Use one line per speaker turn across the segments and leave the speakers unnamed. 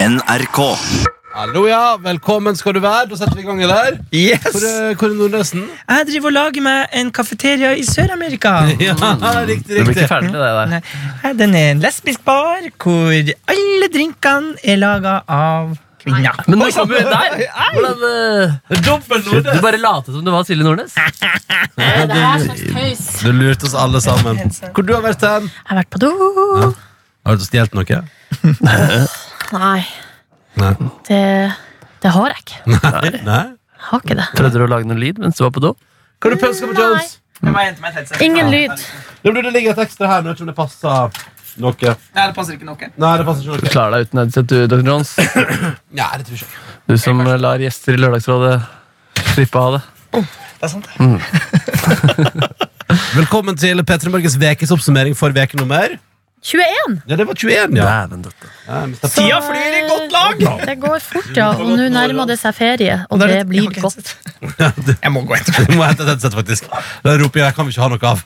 NRK.
Hallo, ja. Velkommen skal du være. Da setter vi i gang, eller? Hvor
Yes!
er Kåre Nordnesen?
eh, Jeg driver og lager meg en kafeteria i Sør-Amerika.
Ja, riktig,
Du blir ikke
riktig.
ferdig med det der.
Nei, Den er en lesbisk bar hvor alle drinkene er laga av kvinner.
Men nå kommer vi der! Hvordan, eh,
Dobbel
du bare latet som du var Silje Nordnes.
Det er slags tøys.
Du lurte oss alle sammen. Hvor du har vært hen?
Jeg har vært på do.
Har du stjålet noe?
Nei,
Nei.
det, det har jeg ikke.
Nei?
Jeg har ikke det.
Prøvde du å lage noe lyd mens du var på do?
Hva har du pønska på Jones?
Ingen lyd.
Det burde ligge et ekstra her. Nå vet ikke om det passer noe.
Nei, det passer ikke noe.
Nei, det passer ikke
Du
noe.
klarer deg uten headset, du, Dr. Jones.
Nei, det tror jeg ikke.
Du som eh, lar gjester i Lørdagsrådet slippe å ha det.
Det er sant.
Velkommen til P3 Morgens ukes oppsummering for ukenummer.
21.
Ja, det var 21, ja.
Dæven døtte.
ja men det-
Tida flyr i godt lag!
eh, Det går fort, ja. Og nå nærmer det seg ferie, og det blir godt.
Jeg må gå etter.
Du må hente et headset, faktisk. Da roper jeg jeg kan vi ikke ha noe av.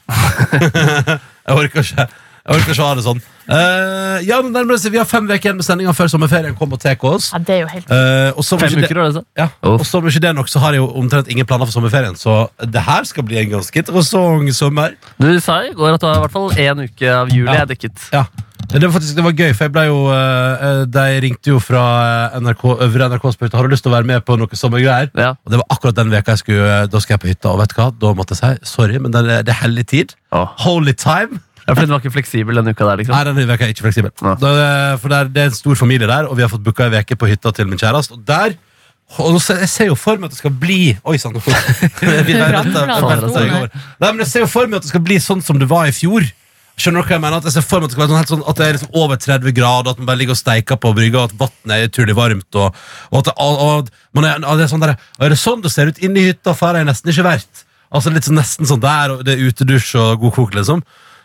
jeg orker ikke. Jeg orker ikke å ha det sånn. Eh, ja, men nærmere seg, Vi har fem uker igjen med sendinga før sommerferien kommer og tar oss.
Ja, det er jo helt
Eh, og som
Fem
ikke
uker,
det,
var det så?
ja.
Uff.
Og som ikke det nok, så har jeg jo omtrent ingen planer for sommerferien. Så det her skal bli en ganske interessant sommer.
Du sa i går at det var i hvert fall én uke av juli
Ja.
er dekket.
Ja, det var faktisk det var gøy, for jeg ble jo eh, eh, De ringte jo fra eh, NRK, øvre NRK og spurte har du lyst til å være med på noe sommergreier.
Ja.
Og det var akkurat den veka jeg skulle eh, Da skal jeg på hytta, og vet du hva, da måtte jeg si sorry, men det er, det er hellig tid.
Åh.
Holy time.
Ja, fordi den var ikke fleksibel den uka der, liksom.
Nei, denne veka er ikke fleksibel.
Nei.
Da, eh, for der, Det er en stor familie der, og vi har fått booka ei veke på hytta til min kjæreste. Og der og nå ser, Jeg ser jo for meg at det skal bli Oi sann! nå- Vi der
Brann-
venter-
brann-
venter jeg over. Nei, men Jeg ser jo for meg at det skal bli sånn som det var i fjor. Skjønner du hva jeg mener? At jeg ser for meg at det skal være sånn, helt sånn At det er liksom over 30 grader, at man bare ligger og steiker på brygga, og at vannet er utrolig varmt. Og, og at det, og, og, man er, og det er, sånn der, og er det sånn det ser ut inni hytta, for her er jeg nesten ikke verdt. Altså litt sånn, Nesten sånn der, og det er utedusj og god kok, liksom.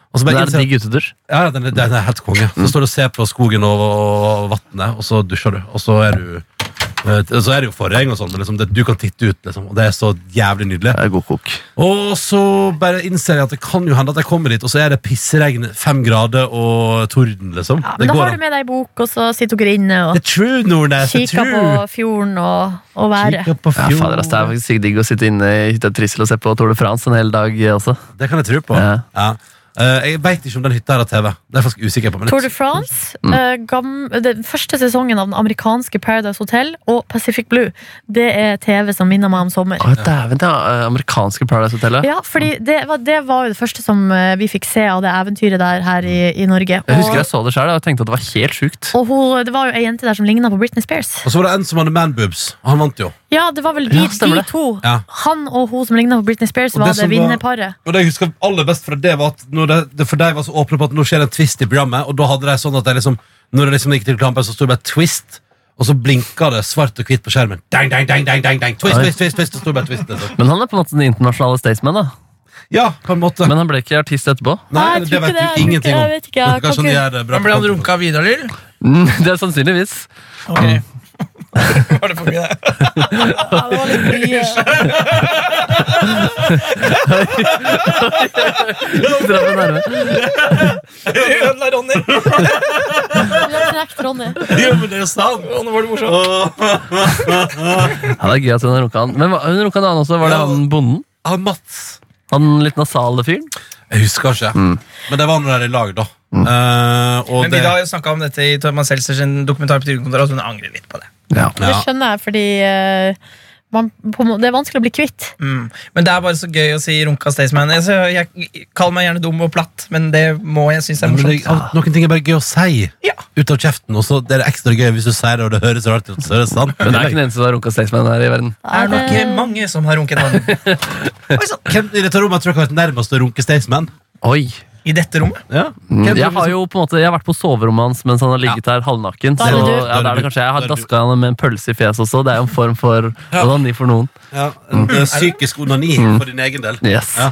Og så
Men
bare
det er
innser jeg at-
digg utedusj.
ja, ja, den er, den er helt konge. Så står du og ser på skogen og, og vannet, og så dusjer du. Og så er du eh, så er det jo forheng og sånn, men liksom det, du kan titte ut, liksom. Og det er så jævlig nydelig.
Det er god kok.
Og så bare innser jeg at det kan jo hende at jeg kommer dit, og så er det pissregn, fem grader og torden, liksom.
ja, Men da har
an.
du med deg bok, og så sitter dere inne
Det
og
er true, Nordnes. Det er
kikker på
true.
fjorden og, og været.
Kikker på
Ja, fader, ass, Det er
fjorden.
faktisk sykt digg å sitte inne i hytta Trissel og se på Tour de France en hel dag eh, også.
Det kan jeg tro på.
Ja.
Ja. Eh, jeg veit ikke om den hytta her har TV. Det er jeg faktisk usikker på. Men
Tour de France, eh, gam, den første sesongen av den amerikanske Paradise Hotel og Pacific Blue. Det er TV som minner meg om sommer.
Å, Dæven, det er, eh, amerikanske Paradise Hotellet.
Ja, fordi det var, det var jo det første som eh, vi fikk se av det eventyret der her i, i Norge.
Jeg husker
Og,
jeg så det sjøl og tenkte at det var helt sjukt.
og hun, det var jo ei jente der som ligna på Britney Spears.
Og så var det en som hadde manboobs, og han vant jo.
Ja, det var vel de,
Ja, stemmer
de
det.
to.
Ja.
Han og hun som ligna på Britney Spears,
Og
var
det som
det
var-
vinnerparet.
Og det jeg husker aller best fra det var at når det, det For de var så åpne på at nå skjer det en twist i programmet, og da hadde de sånn at de liksom Når det liksom gikk til kampen, så sto det bare 'twist', og så blinka det svart og hvitt på skjermen. Dang, dang, dang, dang, dang, dang. Twist,
Oi.
twist, twist, twist, og så sto det bare 'twist'. Liksom.
Men han er på en måte den internasjonale statsman, da.
Ja, på en måte.
Men han ble ikke artist etterpå.
Nei,
Nei,
det
jeg tror
vet
ikke
vi
det.
ingenting om.
Jeg vet ikke, jeg kan
Kanskje de
ikke-
gjør det bra.
Men ble han runka av Vidar-Lill?
Mm, Det er sannsynligvis.
Okay. Var det forbi det?
Ja, det var litt mye.
Dra meg nærmere.
Ødela Ronny.
Du har knekt Ronny.
Jo, men det er sant.
Å, nå var det morsomt.
Ja, det er gøy at hun har runka han. Men hva- hun runka en annen også. Var det
Ja.
han bonden?
Ah, Mats.
Han litt nasale fyren?
Jeg husker ikke. Men det var når de er i lag, da. Eh, og
Mm. Men
det
Vidar har jo snakka om dette i Thomas Seltzer sin dokumentar på Trygdekontoret, at hun angrer litt på det.
Ja.
Det
ja.
skjønner jeg, fordi eh, man, på, en må- det er vanskelig å bli kvitt.
Mm. Men det er bare så gøy å si runka Staysman. Jeg, så jeg Kall meg gjerne dum og platt, men det må jeg synes er
Men det,
morsomt.
av- noen ting er bare gøy å si
Ja.
ut av kjeften, og så er det ekstra gøy hvis du sier det, og det høres rart ut. Så er det sant.
Men det er ikke den eneste som har runka statsman her i verden.
Er det
Ja,
ikke mange som har runket han
Oi, sant. Hvem i dette rommet tror dere har vært nærmest å runke Staysman?
Oi.
i dette rommet?
Ja.
Mm, Jeg har jo på en måte, jeg har vært på soverommet hans mens han har ligget der halvnaken.
Da
Så
er det du.
ja, da er det kanskje Jeg har
Da er det du.
daska han med en pølse i fjeset også. Det er jo en form for onani for noen.
ja. Det er Psykisk onani for din egen del.
Mm. Yes.
Ja.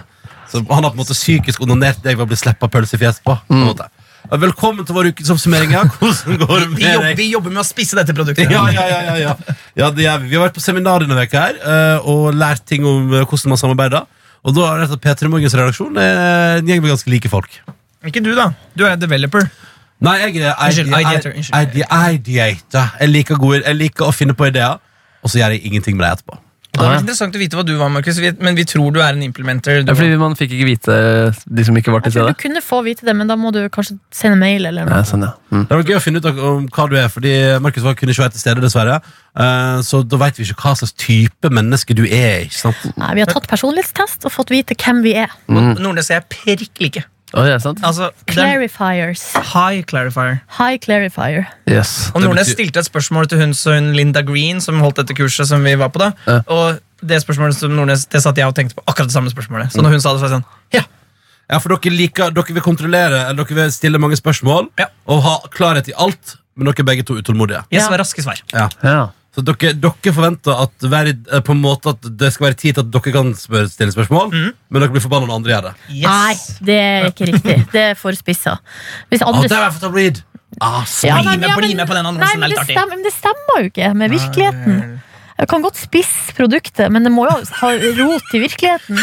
Så han har på en måte psykisk onanert deg ved å bli slippet pølse i fjeset på. på
Mm.
en måte. Velkommen til vår ukes oppsummering. Ja. Hvordan går det
Vi, jobb,
med deg?
vi jobber med å spisse dette produktet.
Ja, ja, ja, ja, ja. ja det gjør vi. vi har vært på seminar denne veka her eh, og lært ting om eh, hvordan man samarbeider. Og da eh, er det at P3 Morgens redaksjon er en gjeng med ganske like folk.
Ikke du, da. Du er developer.
Nei, jeg er
Unnskyld,
ide-
ideator,
ide-
unnskyld.
ide- ideator. Jeg liker, gode, jeg liker å finne på ideer, og så gjør jeg ingenting med det etterpå.
Det hadde
Ah, ja.
vært interessant å vite hva du var, Markus, vi- men vi tror du er en implementer. Du,
Ja, fordi man fikk ikke vite eh, de som ikke var til
Jeg tror
stede.
du kunne få vite det, men da må du kanskje sende mail eller noe.
Ja, sånn, ja. Mm.
Det var gøy å finne ut om hva du er, fordi Markus var- kunne ikke være til stede, dessverre. Eh, Så da vet vi ikke hva slags type menneske du er. ikke sant?
Nei, vi har tatt personlighetstest og fått vite hvem vi er.
Mm.
Nordnes og jeg er prikk like.
Å, ja, sant?
Altså, det er
Clarifiers.
high clarifier.
High clarifier.
Yes.
Og
Det
Nordnes
betyr-
stilte et spørsmål til hun, så hun Linda Green, som holdt dette kurset som vi var på da.
Ja.
Og det spørsmålet som Nordnes, det satt jeg og tenkte på akkurat det samme spørsmålet. Så når hun sa det, så var jeg sånn Ja,
Ja, for dere, liker, dere vil kontrollere, eller dere vil stille mange spørsmål
Ja.
og ha klarhet i alt, men dere er begge to utålmodige.
yes,
Ja.
var raske svar.
Ja.
Så dere, dere forventer at, hver, eh, på en måte at det skal være tid til at dere kan spør, stille spørsmål,
Mhm.
men dere blir forbanna når andre gjør det.
Yes.
Nei, det er ikke riktig. Det er for spissa. Hvis
Ah,
andre
det er for tabloid! Ah, så-
Ja,
Bli
nei,
med-
ja,
bli
men-
med på den andre,
nei,
som er
men
litt
det
artig.
stemmer- Men det stemmer jo ikke med virkeligheten. Jeg kan godt spisse produktet, men det må jo ha rot i virkeligheten.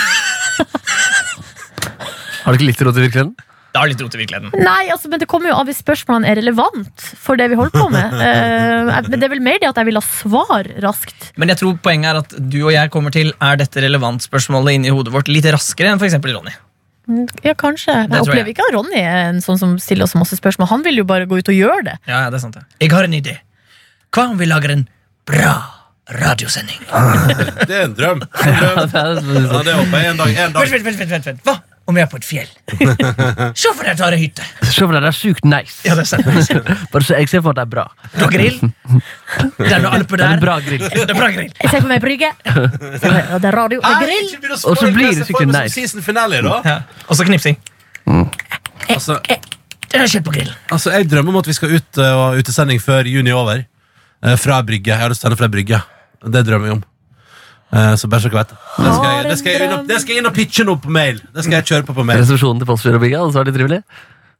Har du ikke litt råd til virkeligheten?
Det har litt rot i virkeligheten.
Nei, altså, men Det kommer jo av hvis spørsmålene er relevant for det vi holder på med. Eh, jeg- men Det er vel mer det at jeg vil ha svar raskt.
Men jeg tror poenget er at du og jeg kommer til er dette relevant-spørsmålet inni hodet vårt litt raskere enn for eksempel Ronny.
Ja, kanskje. Jeg
Det tror jeg.
opplever ikke at Ronny er en sånn som stiller oss masse spørsmål. Han vil jo bare gå ut og gjøre det.
Ja, ja, det er sant. ja. Jeg har en idé. Hva om vi lager en bra radiosending?
Det er en drøm. En drøm. Ja, det håper jeg. En dag. En dag.
Vent, vent, vent, vent, vent, vent. Hva om jeg er på et fjell? Se for deg at du har ei hytte.
Se for deg, det er sjukt nice.
Ja, det er sant.
Bare se, jeg ser for meg at det er bra.
Du har grill. Det er noe alper
Det er
der.
en bra grill.
Det er bra grill.
Jeg ser for meg brygge. Ja, Det er radio. Det er
Nei,
grill.
Ah,
Eh,
ikke begynn å
Og så
spoil
blir
jeg ser for meg
det sikkert
som
nice.
Season finale, da.
Ja. Og så knipsing.
Altså,
Det har skjedd på grillen.
altså, jeg drømmer om at vi skal ut eh, og ha utesending før juni er over. Eh, Fra brygge. Jeg har lyst til å sende fra brygge. Det drømmer jeg om. Eh, Så bare så dere vet det. Det skal jeg- Det skal jeg inn og- det skal jeg inn og pitche nå på mail. Det skal jeg kjøre på på mail.
Resepsjonen til Postgirobygget, altså er det trivelig?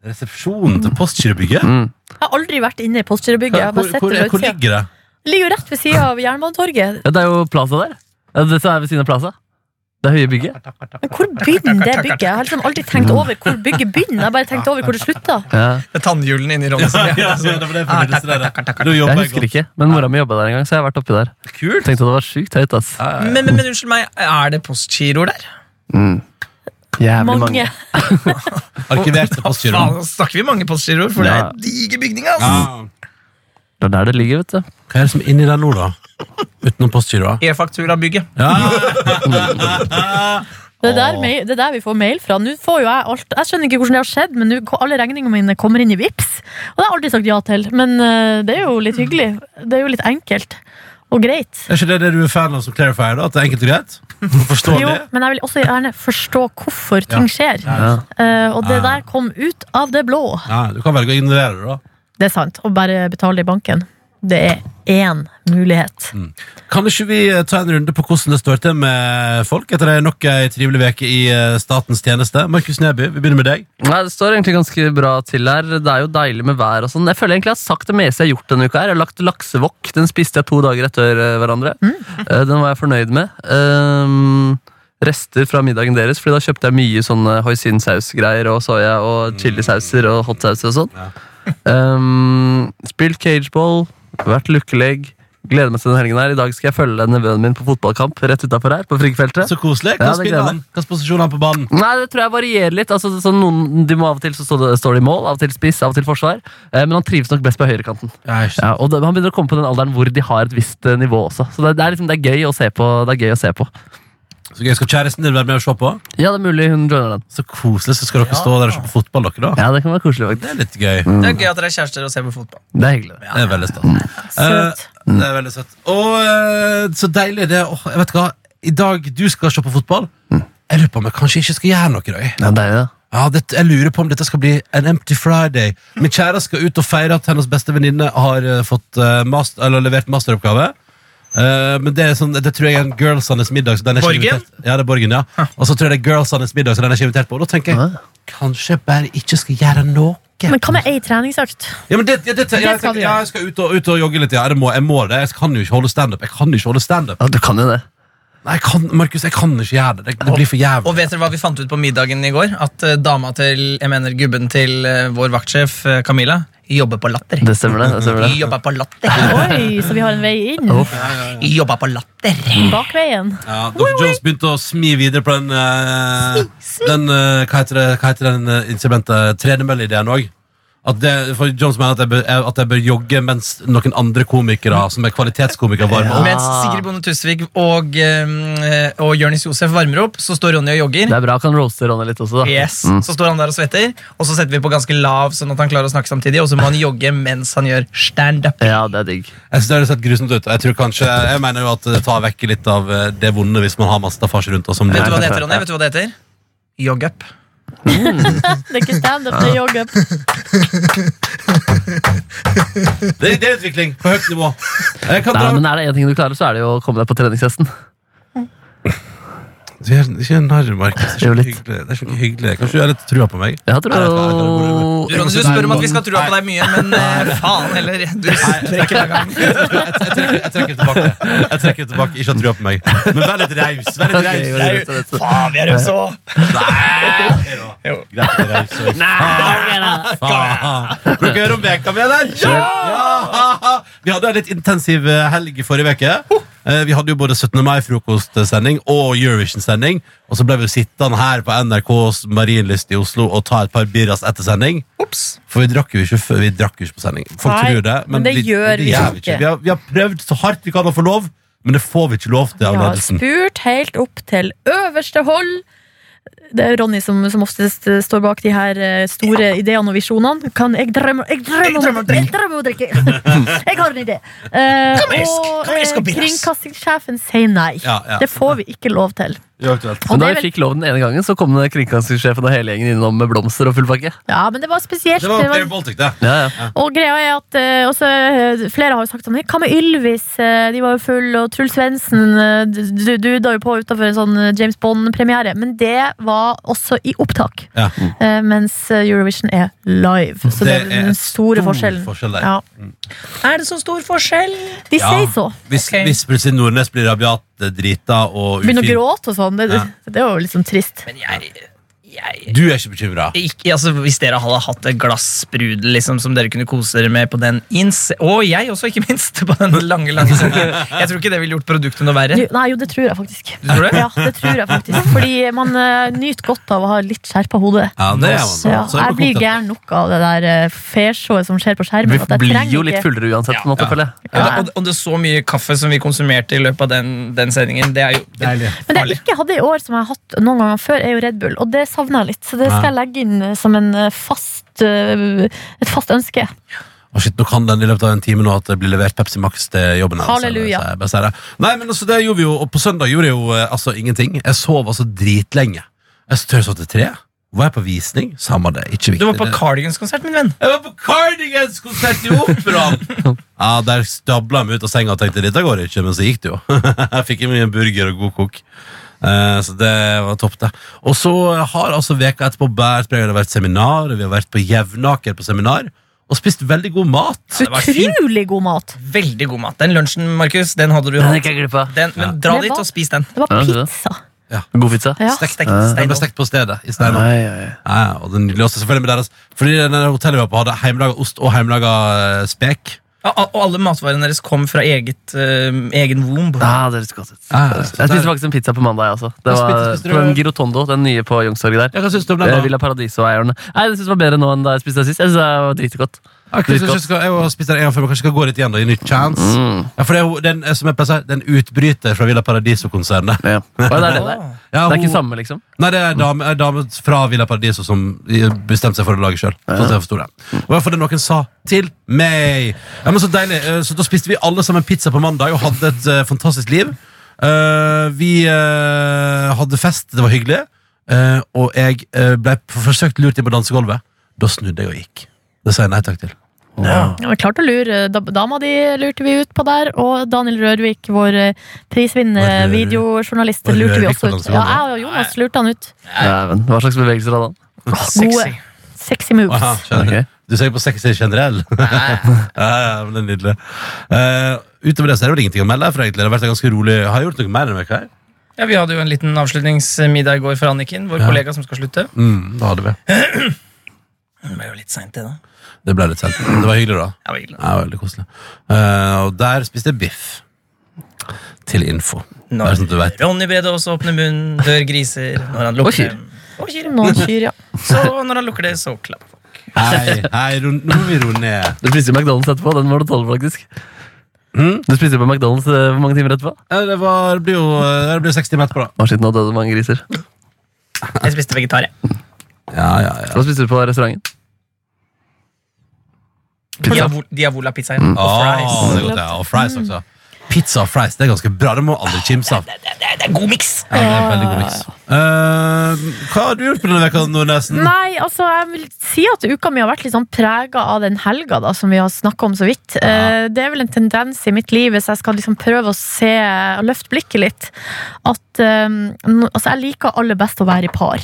Resepsjonen til Postgirobygget?
Jeg har aldri vært inne i Postgirobygget. Jeg har bare
Hvor,
sett
hvor,
det fra
hvor
utsida.
ligger det?
Ligger jo rett ved sida av Jernbanetorget.
Ja, det er jo Plaza der. Ja, dette er ved siden av Plaza. Det er høye bygget.
Men hvor begynner det bygget? Jeg har liksom aldri tenkt over hvor bygget begynner. Jeg har bare tenkt over hvor det slutter.
Ja.
Det er tannhjulene inni Ronny.
Ja, ja, det var det jeg
Ah,
følte
takk,
det der.
takk, takk, takk, takk.
Du jobber jeg
altså. Jeg husker
godt.
ikke, men mora mi jobba der en gang, så jeg har vært oppi der.
Kult.
Tenkte det var sjukt høyt, ass.
Men, men, men unnskyld meg, er det postgiroer der?
Jævlig mange.
Mange.
Arkivert på
Faen,
postgiroen.
nå snakker vi mange postgiroer, for det er
Ja.
diger bygning, ass.
Ja.
Det er der det ligger, vet du.
Hva er det som er inni der nå, da? Utenom postgiroa?
E-faktura-bygget.
Ja.
Det er, der, mail- det er der vi får mail fra. Nå får jo Jeg alt Jeg skjønner ikke hvordan det har skjedd, men nå ko- alle regningene mine kommer inn i VIPS Og det har jeg aldri sagt ja til. Men eh, det er jo litt hyggelig. Det er jo litt enkelt. Og greit.
Er ikke det det du er fan av som clarifier? da? At det er enkelt og greit? Forståelig?
Jo, men jeg vil også gjerne forstå hvorfor ting skjer.
Ja.
Eh, og det der kom ut av det blå.
Ja, du kan velge å ignorere det, da.
Det er sant. Og bare betale i banken. Det er én mulighet.
Mm.
Kan ikke vi eh, ta en runde på hvordan det står til med folk etter det er nok ei trivelig uke i eh, statens tjeneste? Markus Neby, vi begynner med deg.
Nei, Det står egentlig ganske bra til her. Det er jo deilig med vær og sånn. Jeg føler egentlig jeg har sagt det meste jeg har gjort denne uka. her. Jeg har lagt laksevokk. Den spiste jeg to dager etter eh, hverandre. Eh, Den var jeg fornøyd med. Ehm, rester fra middagen deres, Fordi da kjøpte jeg mye sånne hoisinsausgreier og soya og chilisauser og hotsauser og sånn. Ehm, spilt cageball, vært lukkelegg. Gleder meg til den helgen her. I dag skal jeg følge nevøen min på fotballkamp rett utafor her. på friggfeltet.
Så koselig.
Ja,
Hva
det
spiller
gleder
han? Hvilken posisjon er han på banen?
Nei, det tror jeg varierer litt. Altså, sånn noen, de må Av og til så står, det, står de i mål, av og til spiss, av og til forsvar. Eh, men han trives nok best på høyrekanten.
Ja, ikke sant.
Ja, og da- han begynner å komme på den alderen hvor de har et visst eh, nivå også. Så det, det, er liksom, det, er gøy å se på, det er gøy å se på.
Så gøy, Skal kjæresten din være med og se på?
Ja, det er mulig hun joiner den.
Så koselig. Så skal dere stå der og se på fotball, dere, da.
Ja, Det kan være koselig,
Det
faktisk.
er litt gøy.
Mm.
Det er gøy at dere er kjærester og ser på fotball.
Det er hyggelig. det.
Det er veldig
Mm.
stas.
Søt.
Eh, det er veldig søtt. Og eh, så deilig det Åh, Jeg vet hva, i dag du skal se på fotball.
Mm.
Jeg lurer på om jeg kanskje ikke skal gjøre noe i dag.
Ja, det er det.
Ja, det, jeg lurer på om dette skal bli en empty friday. Min kjære skal ut og feire at hennes beste venninne har eh, fått, eh, mast- eller levert masteroppgave. Eh, men det, er sånn, det tror jeg er en girlsenes middag. Så den er ikke
Borgen?
invitert- Ja, det er Borgen, ja. Og så tror jeg det er girlsenes middag, så den er ikke invitert på. Og da tenker jeg,
Ah.
kanskje jeg bare ikke skal gjøre noe.
Men hva med ei treningsøkt?
Ja, men det, ja, det, jeg,
skal
tenker-
du
ja,
gjøre.
jeg skal ut og, ut og jogge litt. Ja. Jeg, må, jeg må det. Jeg kan jo ikke holde standup. Jeg kan jo ikke holde standup.
Ja, du kan jo det.
Nei, jeg kan, Markus, jeg kan ikke gjøre det. Det, det blir for
Og
jævlig.
vet dere hva vi fant ut på middagen i går? At eh, dama til, jeg mener gubben til eh, vår vaktsjef, eh, Camilla, jobber på latter.
Det stemmer, det. det, stemmer det.
Jobber på latter.
Oi, så vi har en vei inn.
Uff.
Jobber på latter.
Bakveien.
Ja, Dr. Jones begynte å smi videre på den, eh, den eh, Hva heter det, hva heter den eh, instrumente tredemølle-ideen òg? At det, for Jones mener at jeg, bør, jeg- at jeg bør jogge mens noen andre komikere som er kvalitetskomikere, varmer opp.
Mens
Ah.
Sigrid Bonde Tusvik og, eh, og Jonis Josef varmer opp, så står Ronny og jogger.
Det er bra han kan roaste Ronny litt også, da.
Yes,
Mm.
Så står han der og svetter, og så setter vi på ganske lav, sånn at han klarer å snakke samtidig, og så må han jogge mens han gjør standup.
Ja, det er digg.
Jeg synes det har sett grusomt ut. og Jeg tror kanskje, jeg mener jo at det tar vekk litt av eh, det vonde hvis man har masse staffasje rundt. Og som
Vet du hva
det
det heter, Ronny? Vet du hva det heter? Jog up.
Det er ikke standup, det er joggup.
er det er utvikling på høyt nivå. Jeg kan
Nei,
dra
men Er det én ting du klarer, så er det jo å komme deg på treningshesten.
Du er Ikke en narr, Markus. Det
Jo,
er
litt.
så hyggelig. Det er så hyggelig. Kanskje du har litt trua på meg?
Jeg tror
Nei, det er- det er-
Du, Ronny, du spør om at vi skal tro på deg mye, men eh, faen heller. Du trekker deg gang.
Jeg trekker, jeg trekker tilbake. Jeg trekker tilbake, Ikke ha trua på meg. Men vær litt raus. Vær litt
Ok, jo,
raus.
rett og slett.
Faen, vi er rause òg!
Greit, det er raus. Faen. Bruker jeg romveka mi, eller? Ja! Vi hadde en litt intensiv eh, helg i forrige uke. Eh, Vi hadde jo både 17. mai-frokostsending og Eurovision-sending. Og så ble vi jo sittende her på NRKs Marienlyst i Oslo og ta et par birras etter sending. For vi drakk jo ikke før- vi drakk jo ikke på sending. Folk
Nei,
tror det,
men det gjør vi
gjør
ikke.
Vi har, vi har prøvd så hardt vi kan å få lov, men det får vi ikke lov til av
Vi har
ledelsen.
spurt helt opp til øverste hold. Det er Ronny som, som oftest eh, står bak de her eh, store ideene og visjonene. Kan jeg drømmer, jeg drømmer om å drikke! Jeg drømmer om å drikke! Jeg har en idé! Eh,
Kom her, sk-
og
kom her,
eh,
skal bildes.
kringkastingssjefen sier nei.
Ja, ja.
Det får vi ikke lov til.
Uaktuelt.
Og
Men da
det er
vi
vel-
fikk lov den ene gangen, så kom kringkastingssjefen og hele gjengen innom med blomster og full pakke.
Ja, men det var spesielt.
Det var
Det var-
Air Baltic, det.
Ja, ja.
Og greia er at eh, også, eh, Flere har jo sagt sånn Hva med Ylvis? Eh, De var jo full Og Truls Svendsen eh, du- duda jo på utenfor en sånn eh, James Bond-premiere. Men det var også i opptak.
Ja.
Eh, Mens Eurovision er live. Så det,
Det
er
er
den store
stor
forskjellen.
forskjell der.
Ja.
Er det så stor forskjell?
De
Ja.
sier så.
Hvis,
Ok.
hvis plutselig Nordnes blir rabiat, eh, drita og
Begynner å
ufin
gråte og sånn. Det,
Ja.
det var jo litt sånn trist.
Men jeg, jeg
Du er ikke bekymra.
ikke, altså, Hvis dere hadde hatt et glass sprudel liksom, som dere kunne kose dere med på den ins... Og jeg også, ikke minst. På den lange, lange sendingen. Jeg tror ikke det ville gjort produktet noe verre.
Jo, Nei, jo, det tror jeg faktisk.
Du tror det?
Ja, det tror jeg faktisk Fordi man eh, nyter godt av å ha litt skjerpa hode.
Ja, det er man.
Ja,
Så er
jeg
man
blir
content.
gæren nok av det der eh, fairshowet som skjer på skjermen. at
Vi
jeg
blir
trenger
jo
ikke-
litt fullere uansett. på en måte,
Ja.
føler jeg.
Ja.
Og, det- og det er så mye kaffe som vi konsumerte i løpet av den, den sendingen. Det er jo
Men det jeg ikke hadde i år, som jeg har hatt noen ganger før, er jo Red Bull. Og det savner jeg litt, så det skal jeg legge inn eh, som en eh, fast eh, et fast ønske.
Å, shit, nå kan den i løpet av en time nå at det blir levert Pepsi Max til jobben. hennes,
Halleluja.
eller så jeg bare sier det. Nei, men altså, det gjorde vi jo, og på søndag gjorde jeg jo eh, altså ingenting. Jeg sov altså dritlenge. Jeg tør sove til tre. Var jeg på visning? Samme det, ikke viktig.
Du var på
Det-
Cardigans-konsert, min venn.
jeg var på Cardigans-konsert i Operaen! ja, der stabla jeg meg ut av senga og tenkte dette går ikke, men så gikk det jo. jeg fikk i meg en burger og god kok. Eh, så det var topp, det. Og så har altså veka etterpå bært preg av det har vært seminar, og vi har vært på Jevnaker på seminar, og spist veldig god mat.
var fint.
Utrolig god mat!
Veldig god mat. Den lunsjen, Markus, den hadde du
Den
hatt.
gikk jeg glipp av.
Den, men dra
Det
dit
var-
og spis den.
Det var
Ja, det er det.
pizza.
God pizza.
Ja.
Stekt, stekt,
Den ble
steinovn.
stekt på stedet i Steinar.
Nei, ja, ja.
Ja, ja, og den nydeligste selvfølgelig med deres Fordi den der hotellet vi var på hadde heimelaga ost og heimelaga eh, spek.
Ja, Og alle matvarene deres kom fra eget, eh, egen womb.
Ah, det er litt godt ut.
Ja, ja,
Jeg
så der-
spiste faktisk en pizza på mandag. jeg, Altså. Det
Hva
var
spiste- spiste du?
på en Girotondo, den nye på Youngstorget der.
Ja, hva syns du om
Eh,
den? da?
Villa Paradiso-eierne. Nei, Jeg synes det var bedre nå enn da jeg spiste sist. Jeg synes det var dritgodt.
Ja, kanskje
Dritgodt.
jeg skal- Jeg har spist den en gang før, men kanskje jeg skal gå litt igjen da, i nytt chance.
Mm.
Ja, for det er jo den, eh, som jeg pleier å si, den utbryter fra Villa Paradiso-konsernet.
Ja. Hva er det der? Det er
Ja,
ikke
hun-
samme, liksom.
Nei, det er dame, en dame fra Villa Paradiso som bestemte seg for å lage sjøl. Sånn at jeg forstod det. Og i hvert fall det noen sa til meg. Ja, men Så deilig. Eh, Så da spiste vi alle sammen pizza på mandag og hadde et eh, fantastisk liv. Eh, vi eh, hadde fest, det var hyggelig. Eh, og jeg eh, ble f- forsøkt lurt inn på dansegulvet. Da snudde jeg og gikk. Det sa jeg nei takk til.
Ja, men klart å lure da- Dama di lurte vi ut på der, og Daniel Rørvik, vår eh, prisvinnende
eh,
Var Rørvik-
videojournalist,
var
lurte vi
Rørvik på
også ut.
dansegulvet?
Ja, jeg og Jonas lurte han ut.
Ja, men, hva slags bevegelser hadde han?
Gode,
Sexy.
sexy moves.
Aha, skjønner.
Ok.
Du ser jo på sexy generell. ja, ja, men det er nydelig. Eh, utover det så er det vel ingenting å melde. her, For egentlig. Det har vært en ganske rolig Har jeg gjort noe mer enn en uke her?
Ja, Vi hadde jo en liten avslutningsmiddag i går for Anniken, vår kollega som skal slutte.
Mm, det hadde vi.
Det ble jo litt seint, det, da.
Det ble litt sent. Det var hyggelig, da.
Ja, det var hyggelig.
Ja, veldig koselig. Eh, og der spiste jeg biff. Til info. Bare
Når
sånn at du vet.
Ronny Brede også åpner munnen, dør griser. Når han
Og
lukker
kyr.
dem Og kyr.
Noen kyr, ja.
Så når han lukker det, så klapp.
Hei, hei, ro, nå må vi roe ned.
Du spiste jo McDonald's etterpå. Den var du tolv, faktisk.
Mm.
Du spiste jo på McDonald's eh, hvor mange timer etterpå?
Ja, Det, var, det blir jo eh, det blir jo seks timer etterpå, da.
Å, shit, nå døde mange griser.
Jeg spiste vegetar, jeg.
Ja, ja, ja.
Hva spiste du på restauranten? Pizza.
Diavola, Diavola pizza igjen. Og fries.
Åh, Ah, det er godt, ja. Og fries Mm. også. Pizza og fries det er ganske bra. Det må aldri kimse av.
Det, det, det, det er god miks!
Ja, det er veldig god mix. Eh, hva har du gjort på denne veka, Nordnesen?
Nei, altså, jeg vil si at uka mi har vært litt sånn prega av den helga da, som vi har snakka om så vidt. Eh, Det er vel en tendens i mitt liv, hvis jeg skal liksom prøve å se og løfte blikket litt, at eh, no, altså, jeg liker aller best å være i par.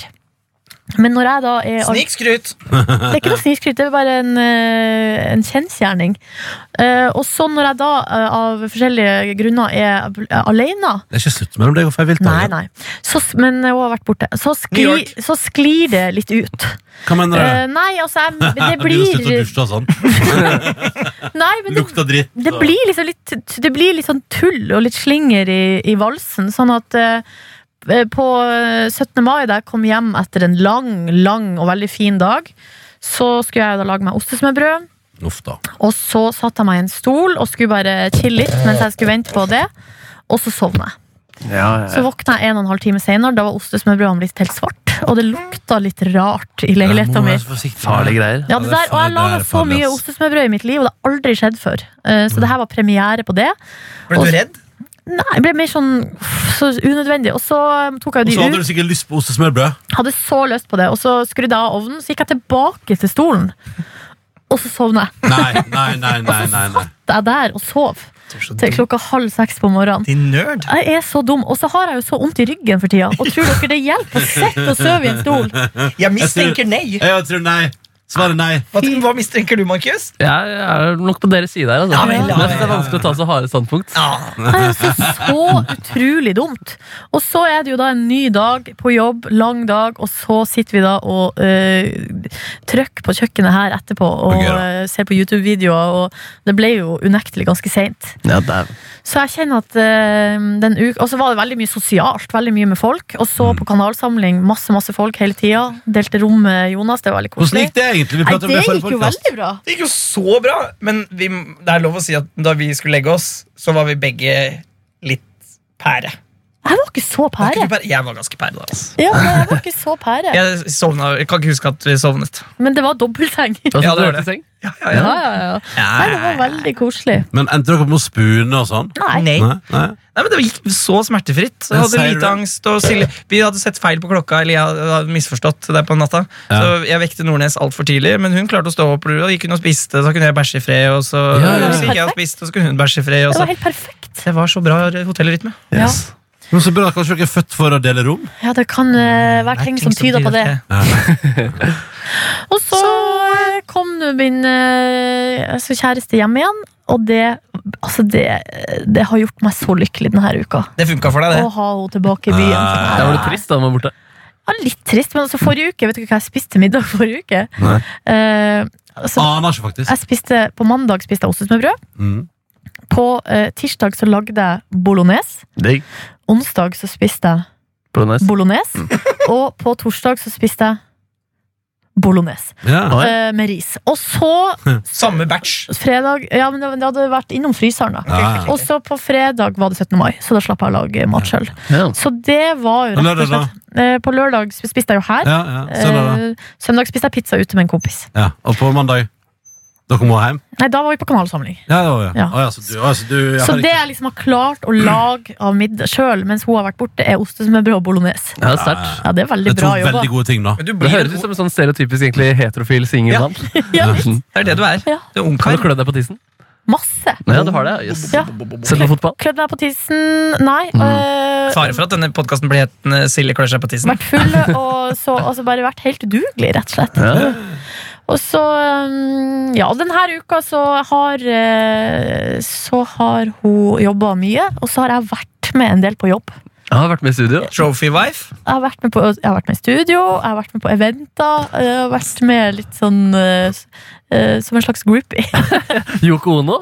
Men når jeg da er
Snikskryt!
Det er ikke noe snikskryt, det er bare en, eh, en kjensgjerning. Eh, og så når jeg da eh, av forskjellige grunner er eh, alene,
Det er ikke slutt mellom deg og Fei
nei,
Vilthagen.
nei, så, s- men hun har vært borte, så, skli,
New York.
så sklir det litt ut.
Hva mener du?
Eh, nei, altså, jeg, det
Blir du slutt å
blir
dusje og sånn?
Nei, men det,
Lukta dritt.
det
og-
blir liksom litt Det blir litt sånn tull og litt slinger i, i valsen, sånn at eh, på eh, 17. mai, da jeg kom hjem etter en lang, lang og veldig fin dag, så skulle jeg da lage meg ostesmørbrød.
Uff da.
Og så satte jeg meg i en stol og skulle bare chille litt mens jeg skulle vente på det. Og så sovna jeg. Så våkna jeg en og en halv time senere. Da var ostesmørbrødene blitt helt svart. Og det lukta litt rart i leiligheta mi.
Farlige
Farlig
greier.
Ja,
Ja, det
det er
der, og jeg
farlig,
laga
det er
så
farlig,
mye
ass. Mm.
ostesmørbrød i mitt liv, og det har aldri skjedd før. Eh, Så det her var premiere på det.
Ble du redd?
Nei, det ble mer sånn så unødvendig. Og så um, tok
Og så
jeg jo
hadde
de
du
ut.
sikkert lyst på ostesmørbrød.
Hadde så lyst på det. Og så skrudde jeg av ovnen, så gikk jeg tilbake til stolen. Og så sovna jeg.
Nei, nei, nei, nei, nei, nei.
Jeg der og sov til klokka halv seks på morgenen.
Din nerd.
Jeg er så dum, og så har jeg jo så vondt i ryggen for tida. Og tror dere det hjelper å sitte og sove i en stol?
Jeg mistenker nei.
Jeg tror nei. Svaret er nei.
Hva, hva mistenker du, Markus?
Jeg er nok på deres side her. Altså.
Ja, vel, ja,
Jeg synes det er
ja, ja.
vanskelig å ta så harde standpunkt.
Ah.
Det er altså så utrolig dumt. Og så er det jo da en ny dag på jobb, lang dag, og så sitter vi da og uh, trykker på kjøkkenet her etterpå
Ok,
og
da.
eh, ser på YouTube-videoer, og det ble jo unektelig ganske seint.
Ja, dæven.
Så jeg kjenner at eh, den uka Og så var det veldig mye sosialt, veldig mye med folk. Og så
Mm.
på kanalsamling, masse, masse folk hele tida. Delte rom med Jonas, det var veldig
Hvordan
koselig.
gikk det egentlig? Vi
Nei,
pratet om
det
det i
gikk
forrige
jo
podcast.
veldig bra.
Det gikk jo så bra, men vi, det er lov å si at da vi skulle legge oss, så var vi begge litt pære.
Jeg var ikke så
Var ikke
pære.
du pære? Jeg var ganske pære da. Altså.
Ja, nei, jeg var ikke så pære.
Jeg, sovna, jeg kan ikke huske at vi sovnet.
Men det var dobbeltseng.
Ja,
Hva synes
det
du er
var det.
til seng?
Ja, ja,
Ja, ja, ja. Nei, det var veldig koselig.
Men endte dere opp med å spune og sånn?
Nei.
Nei.
Nei, nei.
Nei, men Det gikk så smertefritt. Jeg
Ja,
hadde
sier du det?
hvitangst og Silje. Vi hadde sett feil på klokka, eller jeg hadde misforstått der på natta.
Ja.
Så jeg vekte Nordnes altfor tidlig, men hun klarte å stå opp. Og gikk hun og spiste, så kunne jeg bæsje i fred. Og så,
Ja, ja, ja.
så gikk jeg og spiste, og så kunne hun bæsje i fred. Og
Det var
så.
helt perfekt.
Det var så bra hotellrytme.
Yes.
Men så bra, Kanskje dere er født for å dele rom?
Ja, det kan eh, være ting som tyder på det. Og så eh, kom nå min eh, altså, kjæreste hjem igjen, og det Altså, det, det har gjort meg så lykkelig denne uka.
Det funka for
Å
deg, det.
ha henne tilbake i byen. sånn
Nei.
Der var det trist da han var borte.
Ja, litt trist, men altså forrige uke Vet du ikke hva jeg spiste middag forrige uke?
Nei.
Eh, altså,
Aner ikke, faktisk.
jeg spiste, på mandag spiste jeg ostesmørbrød.
Mm.
På eh, tirsdag så lagde jeg bolognese.
Digg.
Onsdag så spiste jeg
Bolognese.
bolognese.
Mm.
Og på torsdag så spiste jeg bolognese
Ja.
eh, med ris. Og så
Samme batch.
fredag Ja, men det, det hadde vært innom fryseren, da.
Ja.
Og så på fredag var det 17. mai, så da slapp jeg å lage mat sjøl.
Ja.
Så det var jo
På
rett og
lørdag, da?
slett eh, På lørdag spiste jeg jo her.
Ja, ja. Sånn er det.
Eh, Søndag spiste jeg pizza ute med en kompis.
Ja. Og på mandag dere må hjem?
Nei, da var vi på kanalsamling.
Ja, det var vi.
Ja.
Å, ja, så du, å, ja, så du, ja,
Så
herregud.
det jeg liksom har klart å lage av middag sjøl mens hun har vært borte, er ostesmørbrød og bolognese.
Ja, sterkt.
Ja, det er
Det
veldig
er to
bra jobba.
veldig gode ting, da.
Men du
Det
blir
høres ut som en sånn stereotypisk egentlig heterofil
Ja.
singelmann.
Ja,
Det er det du er.
Ja.
Du er
Kan du
ungkar.
klø deg på tissen?
masse.
Ja, du har det. ja. Yes.
Ja.
Sett på fotball.
Klødd meg på tissen, nei. øh,
Fare for at denne podkasten blir hetende Silje klør seg på tissen.
vært full og så altså bare vært helt udugelig, rett og slett.
Ja.
Og så øhm, Ja, denne uka så har eh, øh, Så har hun jobba mye, og så har jeg vært med en del på jobb.
Jeg har vært med i studio.
Trophy wife.
Jeg har vært med på, jeg har vært med i studio, jeg har vært med på eventer. Jeg har vært med litt sånn eh, s- eh, som en slags groupie.
Yoko Ono.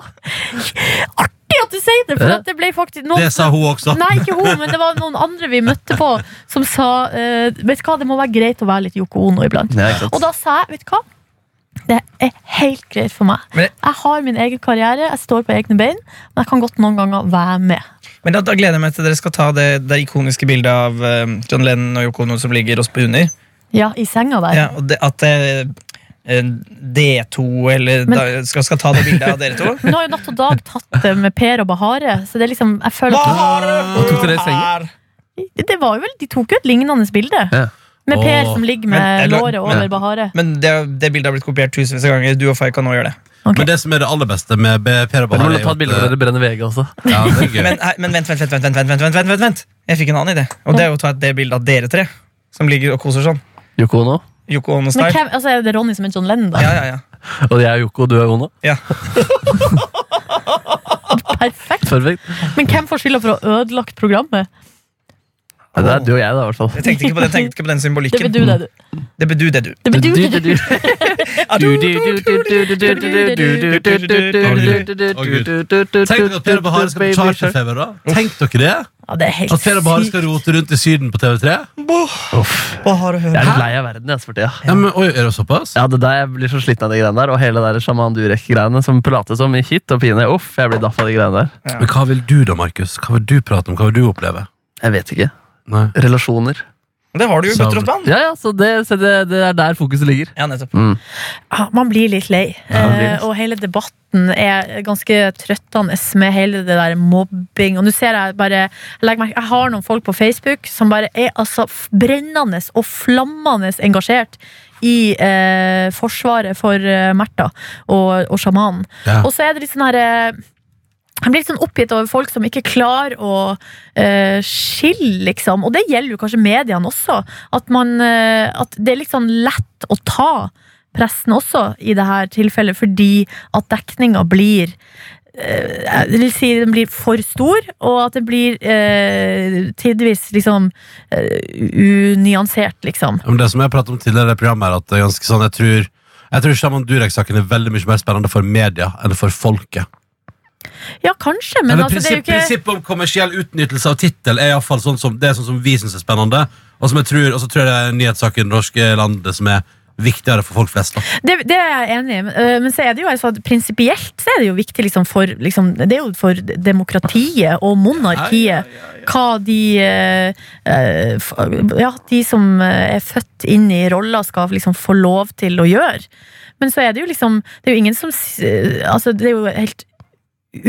Artig at du sier det! For
Ja.
at det ble faktisk noen
Det sa hun også.
Nei, ikke hun, men det var noen andre vi møtte på, som sa eh, Vet du hva, det må være greit å være litt Yoko Ono iblant.
Ja, ikke sant.
Og da sa jeg, vet du hva? Det er helt greit for meg.
Men-
Jeg har min egen karriere, jeg står på egne bein, men jeg kan godt noen ganger være med.
Men da, da gleder jeg meg til dere skal ta det, det ikoniske bildet av eh, John Lennon og Yoko Ono som ligger oss på under.
Ja, i senga der.
Ja, og det, at eh, eh, D2 eller
Men-
da, skal, skal ta det bildet av dere to.
Men nå har jo Natt og Dag tatt det med Per og Bahare, så det er liksom, jeg føler at
Og tok dere i sengen?
Det var jo vel, de tok jo et lignende bilde.
Ja.
Med Per
Åh.
som ligger
Men
med
jeg la-
låret over
Ja.
Bahare.
Men det, det bildet har blitt kopiert tusenvis av ganger. Du og Fay kan nå gjøre det.
Ok.
Men det som er det aller beste med B- Per og
Dere
Bahar
må
er jo at-
ta
eh,
et bilde av dere brenner VG også.
Ja, det er gøy.
Men, hei, men vent, vent, vent, vent, vent, vent, vent, vent, vent, vent. Jeg fikk en annen idé. Og det er jo å ta et det bildet av dere tre. Som ligger og koser sånn.
Yoko Ono.
Yoko Ono
Men
style.
hvem, altså, er det Ronny som er John Lennon, da?
Ja, ja, ja.
Og jeg er Yoko, og du er Ono.
Perfekt.
Perfekt.
Men hvem får skylda for å ha ødelagt programmet?
Ja, Det er du og jeg, da, i hvert fall.
Jeg tenkte ikke på den, jeg tenkte ikke på den
Det blir
symbolikken.
du, det, du.
Det bedu, det du.
Det blir du, det, du.
Tenk dere at Per og Bahar skal på charterfeber, da. Tenk dere det?
Ja, det er helt
At Per og Bahar skal rote rundt i Syden på TV3?
Hva har du hørt?
Jeg er litt lei av verden jeg, for tida.
Ja, men, oi, er det såpass?
Ja, det der, Jeg blir så sliten av de greiene der, og hele der sjaman Durek-greiene som prates om i hit og pine. Uff, jeg blir daff av de greiene der.
Men hva vil du da, Markus? Hva vil du prate om? Hva vil du oppleve?
Jeg vet ikke.
Nei.
Relasjoner.
Det har du jo i Butter og spann.
Ja, Mm. ja, så det, så det, det er der fokuset ligger.
Ja, nettopp.
Ja, Ah, man blir litt lei.
Ja, man blir det.
Eh, og hele debatten er ganske trøttende med hele det der mobbing. Og nå ser jeg bare jeg legger merke, Jeg har noen folk på Facebook som bare er altså f- brennende og flammende engasjert i eh, forsvaret for eh, Märtha og, og sjamanen.
Ja.
Og så er det litt sånn her eh, jeg blir litt sånn oppgitt over folk som ikke klarer å eh, skille, liksom. Og det gjelder jo kanskje mediene også. At, man, eh, at det er litt sånn lett å ta pressen også, i det her tilfellet, fordi at dekninga blir eh, jeg vil si den blir for stor, og at den blir eh, tidvis liksom eh, unyansert, liksom.
Men det som jeg pratet om tidligere i programmet, er at det er ganske sånn, jeg tror jeg tror Shaman Durek-saken er veldig mye mer spennende for media enn for folket.
Ja, kanskje, men
Eller
altså, det er
prinsipp,
jo ikke
Prinsippet om kommersiell utnyttelse av tittel er i hvert fall sånn som, det er sånn som vi syns er spennende. Og som jeg tror, og så tror jeg det er nyhetssaken i det norske landet som er viktigere for folk flest. Da.
det, det er jeg enig i, men, øh, men så er det jo altså, at prinsipielt så er det jo viktig liksom, for, liksom, det er jo for demokratiet og monarkiet hva de øh, øh, f- ja, de som øh, er født inn i roller skal liksom få lov til å gjøre. Men så er det jo liksom det er jo ingen som s- øh, altså, det er jo helt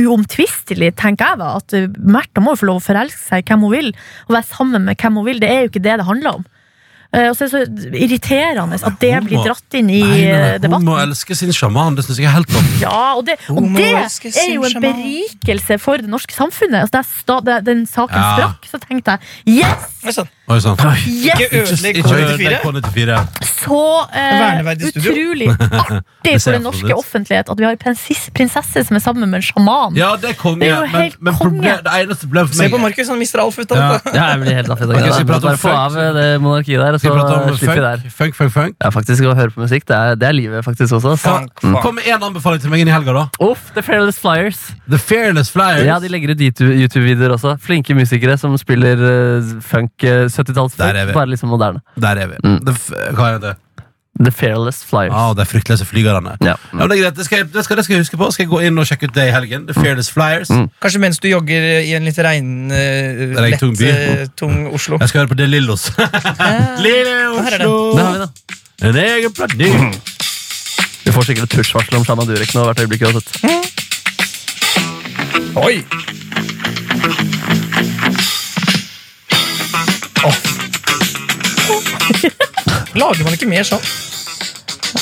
uomtvistelig, tenker jeg da, at øh, Märtha må jo få lov å forelske seg i hvem hun vil, og være sammen med hvem hun vil. Det er jo ikke det det handler om. Eh, Og så er det så irriterende at det blir dratt inn i eh,
hun
debatten.
må elske sin sjaman, det syns jeg er helt lov.
Ja, og det, og
Homo
det
elsker
er jo en
sin sjaman.
berikelse for det norske samfunnet. Altså, da jeg sta, da den saken
Ja.
sprakk, så tenkte jeg yes!
Oi, sånn.
Oi sann.
yes!
Ikke ødelegg K94.
K 94.
Så eh,
Verneverdig studio.
utrolig artig
Det ser jeg
for den
absolutt.
norske offentlighet at vi har en prinsis- prinsesse som er sammen med en sjaman.
Ja, det er konge.
Det er jo
men
helt
men
konge.
problem, det eneste problemet for
Se
meg
på Markus, han mister all futt av
Ja.
dette.
Ja, jeg blir helt daff i de
Ok, så
greiene
vi
der.
prater om
Bare få
funk,
av det monarkiet der, og
Skal vi prate
så
om
slipper vi der.
funk? Funk, funk, funk.
Ja, faktisk, å høre på musikk, det er, det er livet faktisk også. Så.
Fuck, fuck.
Kom med én anbefaling til meg inn i helga, da.
Uff, The Fearless Flyers.
The Fearless Flyers.
Ja, De legger ut YouTube- YouTube-videoer også. Flinke musikere som spiller eh, funk, eh, 70-tallsfunk,
Der er vi.
bare liksom moderne.
Der er vi.
Mm.
The f hva heter det?
The Fearless Flyers.
Ah, de fryktløse flygerne.
Ja.
Ja, men det, er greit. det, skal jeg, det, skal, det skal jeg huske på. Skal jeg gå inn og sjekke ut det i helgen? The Fearless Flyers.
Kanskje mens du jogger i en litt regn,
Regn
eh, lett,
tung by.
eh, tung Oslo.
Jeg skal høre på De Lillos. Lille
Her er
Ah. Det har vi,
Oslo!
da.
En egen planet.
Vi får sikkert et push-varsel om Shaman Durek nå hvert øyeblikk uansett.
Oi! Åh. Lager man ikke mer sånn?
Ja,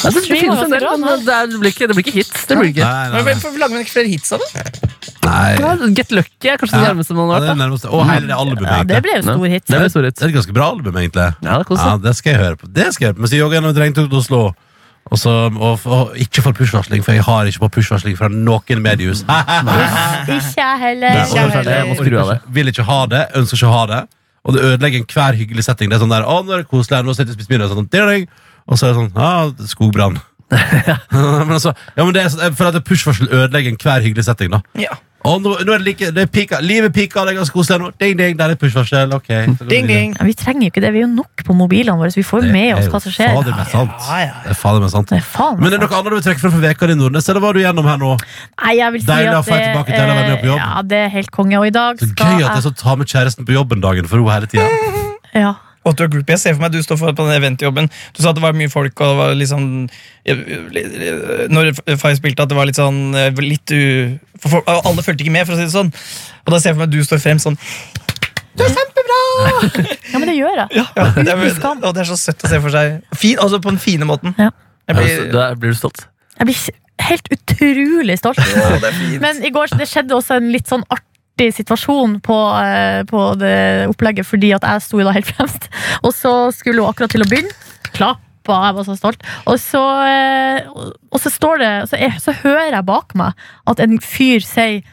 Altså, det, sånn, det,
Streamer
finnes en
ganske
del,
bra,
men det, er- det, blir ikke, det blir ikke hits. Det blir ikke.
Nei, nei, nei.
Hvorfor lager man ikke flere hits av det?
nei.
Ja, Get Lucky er kanskje det
Ja.
nærmeste man
Ja, det
har
er
vært. da.
nærmest- Og hele det albumet,
Ja, det
egentlig.
ble jo stor hit.
Det blir stor hit.
Det er et ganske bra album, egentlig.
Ja,
Ja,
det koser.
det skal jeg høre på. Det skal jeg høre på Mens jeg jogger gjennom terrengturen til Oslo. Og, så, og, og ikke for push-varsling, for jeg har ikke på push-varsling fra noen mediehus.
Ikke jeg
Nei,
heller.
og-
jeg må skru av det.
Vil ikke ha det, ønsker ikke å ha det. og det ødelegger enhver hyggelig setting. Det er sånn der, å, nå er det koselig, her, nå sitter vi og spiser middag, og sånn, «Ding-ding!» og så er det sånn, ah, det er skogbrann. men altså, ja, men det er sånn, jeg føler at et push-varsel ødelegger enhver hyggelig setting, da.
Ja.
Å, nå, nå er det like, det er pika, livet pika, det er ganske koselig her nå, ding, ding, der er et push-varsel, ok. Så går vi videre.
Ding, ding.
Ja, Vi trenger jo ikke det, vi er jo nok på mobilene våre, så vi får jo med oss hva
Det er jo
som skjer.
fader meg sant.
Ja, ja, ja.
Det er fader meg sant.
Det er faen
Men er det
meg
noe annet du vil trekke frem for veka di, Nordnes? Eller var du gjennom her nå?
Nei, jeg vil si
Deilig å
at eh,
få deg tilbake til å være med på jobb.
Ja, det er helt konge. Og i dag
Så
skal
gøy at jeg så tar med kjæresten på jobben dagen for henne hele tida.
ja.
Og du er groupie. Jeg ser for meg du står for på den eventjobben. Du sa at det var mye folk, og det var litt sånn Når Fay spilte, at det var litt sånn eh, litt u... For folk, alle fulgte ikke med, for å si det sånn. Og da ser jeg for meg at du står frem sånn.
ja, men det gjør jeg.
Ja, ja, det,
Uten
er,
skam.
og det er så søtt å se for seg. Fin, altså på den fine måten.
Ja.
Jeg
Er du,
blir,
du er, Altså, blir du stolt?
Jeg blir helt utrolig stolt.
å, det er fint.
Men i går det skjedde også en litt sånn artig situasjon på, eh, på det opplegget, fordi at jeg sto jo da helt fremst. Og så skulle hun akkurat til å begynne. Klappa, jeg var så stolt. Og så, eh, og så står det så, er, så hører jeg bak meg at en fyr sier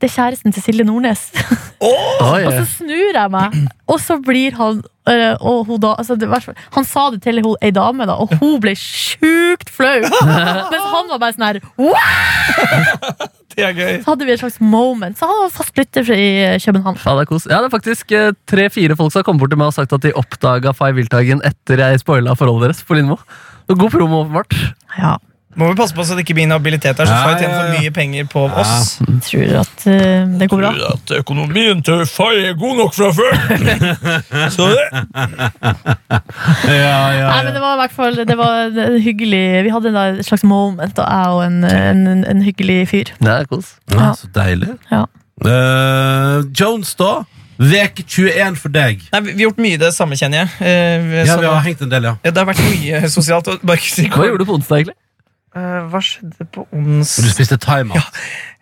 det er kjæresten til Silje Nordnes.
Oi,
Og så snur jeg meg, og så blir han eh, og hun da, altså det, var- Han sa det til hun- ei dame, da, og hun ble sjukt flau. Mens han var bare sånn her wow!
det er gøy.
Så hadde vi et slags moment. Så han var fast lytter i eh, København.
Ja, det er kos. Ja, det er faktisk eh, tre-fire folk som har kommet bort til meg og sagt at de oppdaga Fay Wiltagen etter jeg spoila forholdet deres på Lindmo. Og God promo, åpenbart.
Ja,
Må vi passe på så det ikke blir inhabilitet her, så
Ja,
Fay tjener
ja,
for
ja.
mye penger på oss.
jeg tror at eh, det går bra.
At økonomien til Fay er god nok fra før! så det.
Ja, ja,
Nei, men det var i hvert fall det var en hyggelig Vi hadde en da- et slags moment, da, jeg og en, en, en, en hyggelig fyr.
Det er kos.
ja. Så deilig.
Ja.
Eh, Jones, da? Veke 21 for deg.
Nei, vi vi har gjort mye det samme, kjenner jeg. Eh, vi-
Ja,
så-
vi har hengt en del, ja.
Ja, det har vært mye sosialt. og Bare ikke si
Hva gjorde du på onsdag, egentlig?
Eh, hva skjedde på
Du
ons...
spiste thaimat.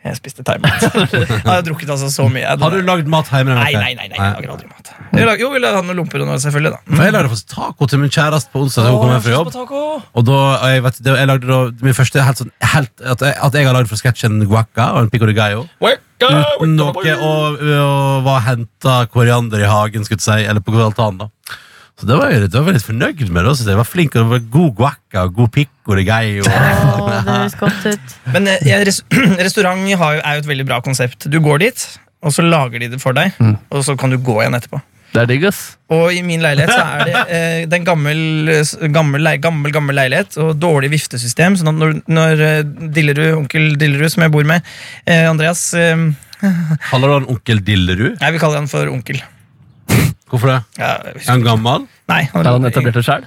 Jeg spiste thaimat. jeg har drukket altså så mye. Jeg-
Har du lagd mat hjemme?
Nei, nei, nei. nei, jeg lager aldri mat. Jeg lager, jo, vi lager noen lomper og noe, selvfølgelig. da.
For jeg lagde faktisk taco til min kjæreste på onsdag. da hun kom hjem fra jobb
Å, jeg har lyst på taco.
Og da, og jeg, vet, det, jeg lagde da min første helt sånn, helt, at, jeg, at jeg har lagd fra sketsj en guacca og en pico de gallo. Uten noe og, og var henta koriander i hagen, skulle jeg si, eller på altanen. da Så det var jeg litt, det var jeg litt fornøyd med. Da, synes jeg. jeg var flink, og det var God guacca og god pico de gallo.
Å, det høres godt ut.
Men eh, jeg, res restaurant har, jo- er jo et veldig bra konsept. Du går dit, og så lager de det for deg, og så kan du gå igjen etterpå.
Det er digg, ass.
Og i min leilighet så er det, eh, det er en gammel, s- gammel, lei- gammel, gammel leilighet og dårlig viftesystem. Så når, når eh, Dillerud, onkel Dillerud, som jeg bor med, eh, Andreas eh,
Kaller du han onkel Dillerud?
Nei, vi kaller han for onkel.
Hvorfor det?
Ja, jeg
Er
husker,
han gammel?
nei, han,
Er han etablert det sjøl?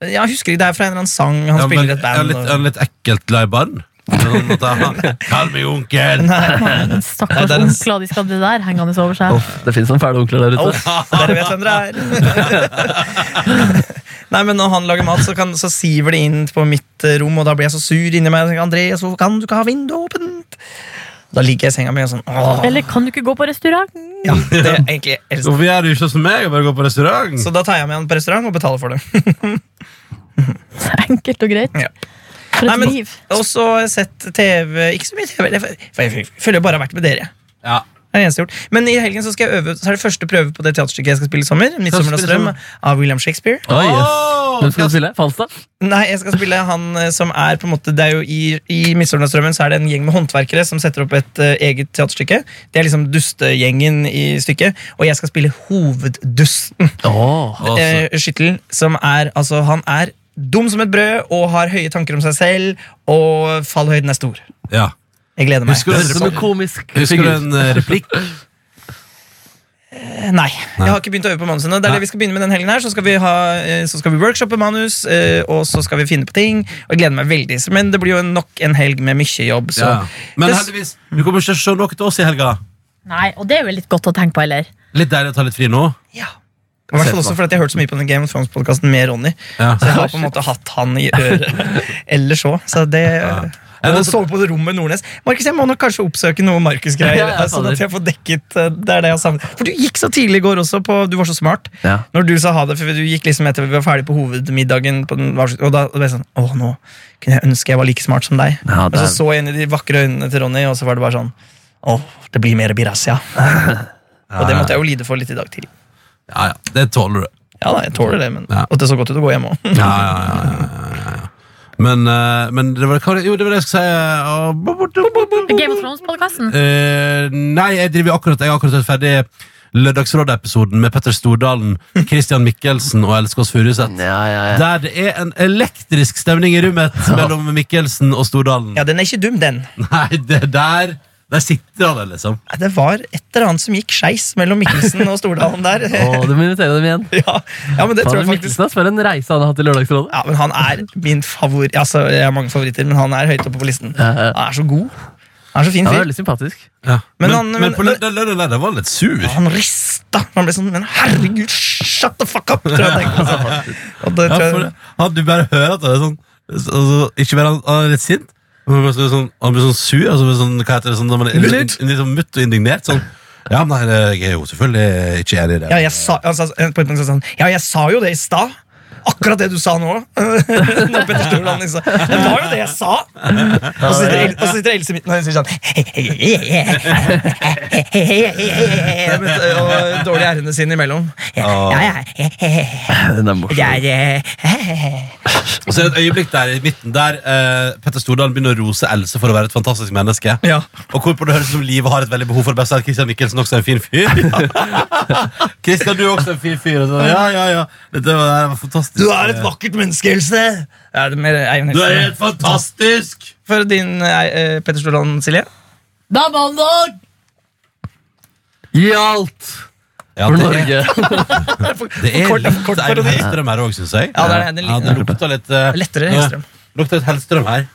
Ja, jeg husker ikke, Det er fra en eller annen sang. Han
Er han
spiller
veldig-
et
er han
band.
litt, er
og-
han litt ekkelt glad i barn? Sånn at han- Kall meg onkel!
Den
Nei,
stakkars
det er en-
onkler, de skal ha det der hengende over seg.
Det fins noen fæle onkler der ute.
Åh, dere vet hvem dere er. Nei, men Når han lager mat, så, kan, så siver det inn på mitt eh, rom, og da blir jeg så sur inni meg. Jeg tenker, Andreas, hvorfor kan du ikke ha vinduet åpent? Da ligger jeg i senga mi og sånn åh,
Eller kan du ikke gå på restaurant?
ja, det er egentlig helst.
Hvorfor gjør du ikke sånn som meg og bare går på restaurant?
Så da tar jeg med han på restaurant og betaler for det.
Enkelt og greit.
Ja.
For
Nei,
et
men-
liv.
Og så har jeg sett TV Ikke så mye TV, det er for for jeg føler jeg bare har vært med dere.
Ja.
Det er det eneste jeg har gjort Men i helgen så skal jeg øve Så er det første prøve på det teaterstykket jeg skal spille i sommer. Midtsommernatts drøm av William Shakespeare.
Oi, yes.
Åh!
Hvem skal du spille? Falstad?
Nei, jeg skal spille han eh, som er på en måte Det er jo i, i Midtsommernattsdrømmen så er det en gjeng med håndverkere som setter opp et eh, eget teaterstykke. Det er liksom dustegjengen i stykket, og jeg skal spille hoveddusten.
Åh.
Altså,
Eh, Skyttel, som er Altså, han er dum som et brød og har høye tanker om seg selv, og fallhøyden er stor.
ja.
Jeg gleder meg.
Husker du-
Høres ut som en komisk
Husker du en eh, replikk?
Eh, Nei, jeg har ikke begynt å øve på manus ennå. Det er det vi skal begynne med den helgen her. Så skal vi, ha, eh, så skal vi workshoppe manus, eh, og så skal vi finne på ting. Og jeg gleder meg veldig. så- Men det blir jo nok en helg med mye jobb, så
Ja. Men
Det-
heldigvis, du kommer ikke til å se noe til oss i helga.
Nei, og det er vel litt godt å tenke på, eller?
Litt deilig å ta litt fri nå.
Ja. I hvert fall også fordi jeg hørte så mye på den Game of Thrones-podkasten med Ronny.
Ja.
Så
Ah,
jeg har på en måte hatt han i øret ellers òg. Så det
Ja,
Og
men-
sove på det rommet med Nordnes. Markus, jeg må nok kanskje oppsøke noe Markus-greier.
Ja, ja,
sånn
fader.
at jeg får dekket eh, Det er det jeg savner. For du gikk så tidlig i går også. På, du var så smart.
Ja.
Når du sa ha det, for du gikk liksom etter vi var ferdig på hovedmiddagen. På den, og da ble jeg sånn Å, nå kunne jeg ønske jeg var like smart som deg.
Ja,
Og
det
så
er,
så jeg inn i de vakre øynene til Ronny, og så var det bare sånn Å, det blir mer Birassia. Og det måtte jeg jo lide for litt i dag tidlig.
Ja, ja, det tåler du.
Ja, nei, jeg tåler det, men
Ja.
at det så godt ut å gå hjem òg.
Ja, ja, ja, ja, ja, ja. Men, eh, men det var hva, Jo, det var det jeg skulle si. eh, og-
Game of Thrones-podkasten.
Eh, nei, jeg driver akkurat Jeg har akkurat sett ferdig Lørdagsrådet-episoden med Petter Stordalen, Christian Mikkelsen og Elsker oss Furuseth.
Ja, ja, ja.
Der det er en elektrisk stemning i rommet mellom Mikkelsen og Stordalen.
Ja, den er ikke dum, den.
Nei, det der Der sitter han, liksom.
Nei, Det var et eller annet som gikk skeis mellom Mikkelsen og Stordalen der.
Å, du må invitere dem igjen.
Ja, ja men det tror
Fader,
jeg faktisk
Mikkelsen, ass, for en reise han har hatt i Lørdagsrådet.
ja, men Han er min favor... Altså, jeg har mange favoritter, men han er høyt oppe på listen.
Ja, ja.
Han er så god. Han er så fin
Han er
fyr.
veldig sympatisk.
Ja. Men,
Men
men,
han- men-
på lørdag lørdag lørdag var han litt sur.
Han rista. Han ble sånn Men herregud, shut the fuck up! Tror jeg han tenkte. Og det
Ja,
tror
for,
jeg,
han, du bare hører at han er sånn altså, Ikke bare han, han er litt sint, men han blir sånn, han blir sånn sur. Altså, blir sånn, hva heter det sånn, når man er litt,
Mutt.
litt sånn mutt og indignert. Sånn, ja, men nei, jeg er jo selvfølgelig ikke enig i det.
ja, jeg sa, altså, på et punkt sa han Ja, jeg sa jo det i stad. Akkurat det du sa nå. Når Petter Stordalen liksom Det var jo det jeg sa! Og så sitter El- og så sitter Else i midten og hun sier sånn Og dårlig ærende sine imellom. Ja, ja,
Den er morsom.
Det er eh,
Og så er det et øyeblikk der i midten der eh, Petter Stordalen begynner å rose Else for å være et fantastisk menneske.
Ja.
Og hvorpå det høres ut som livet har et veldig behov for det beste. Er Christian Mikkelsen også en fin fyr? Christian, du er også en fin fyr. Og så, ja, ja, ja. Dette var, det var fantastisk.
Du er et vakkert menneske, Else! Ja, det er mer Eivind
Du er
Else.
helt fantastisk!
For din eh, eh, Petter Stordalen, Silje?
Det er mandag!
Gi alt
Ja,
for
det, er-
Norge!
det er
kort-
litt
kort
Eivind
parodi.
Hellstrøm her òg, syns jeg.
Ja, det er- det er litt-
ja, det lukter litt eh,
Lettere
nå-
Hellstrøm.
Lukter litt Hellstrøm her.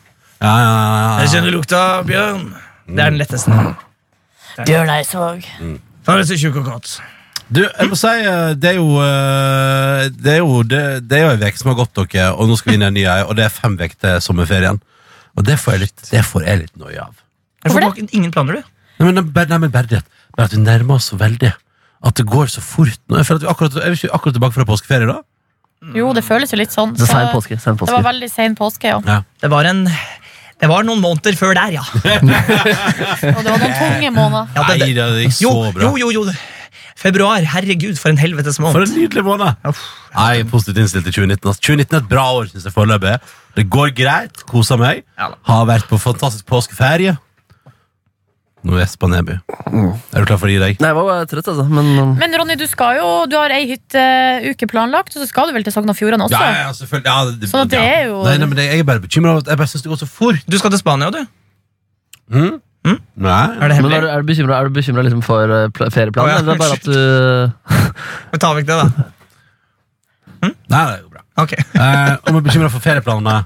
Ja, ja, ja, ja, ja.
lukta, Bjørn. Det er den letteste.
Bjørn jeg så.
Han er så tjukk og kåt.
Du, jeg må si, eh, det er jo eh, Det er jo, det, det er jo en uke som har gått dere Og nå skal vi inn i en ny ei, og det er fem uker til sommerferien Og det får jeg litt, det får jeg litt nøye av
Hvorfor
Hvorfor
det? Ingen planer, du?
Nei, men, det- bare- nei, men bare det Bare at vi nærmer oss så veldig At det går så fort nå Jeg føler at vi akkurat, er vi ikke akkurat tilbake fra påskeferie da?
Jo, det føles jo litt sånn.
Så sein
så-
påske. Sein
Det var
påske.
veldig sein påske, ja.
Det var en Det var noen måneder før der, ja.
Og det var noen tunge måneder.
ja
Nei,
det,
det gikk så
jo,
bra
jo, jo, jo. Februar. Herregud, for en helvetes
For
måned.
en nydelig måned Nei, jeg er positivt innstilt til 2019 ass. 2019 er et bra år, synes jeg foreløpig Det går greit, koser meg
Ja da.
Har vært på fantastisk påskeferie Nå er Espa Neby
Mm.
Er du klar for å gi deg?
Nei, jeg var bare trøtt, altså. Men um,
Men Ronny, du skal jo Du har ei hytteuke planlagt, og så skal du vel til Sogn og Fjordane også?
Ja, ja, ja, selvfølgelig. Ja, det,
altså. Sånn at det
ja.
er jo-
Nei, nei, men det, Jeg er bare bekymra over at jeg bare syns det går så fort.
Du skal til Spania, du?
Nei.
Er det
men er du,
hemmelig?
er du bekymra, er du bekymra liksom for eh, pla-
Å,
ferieplanen,
ja,
eller er det bare at du
Men Ta vekk det, da.
nei, det går bra.
Ok.
Eh, om jeg er bekymra for ferieplanene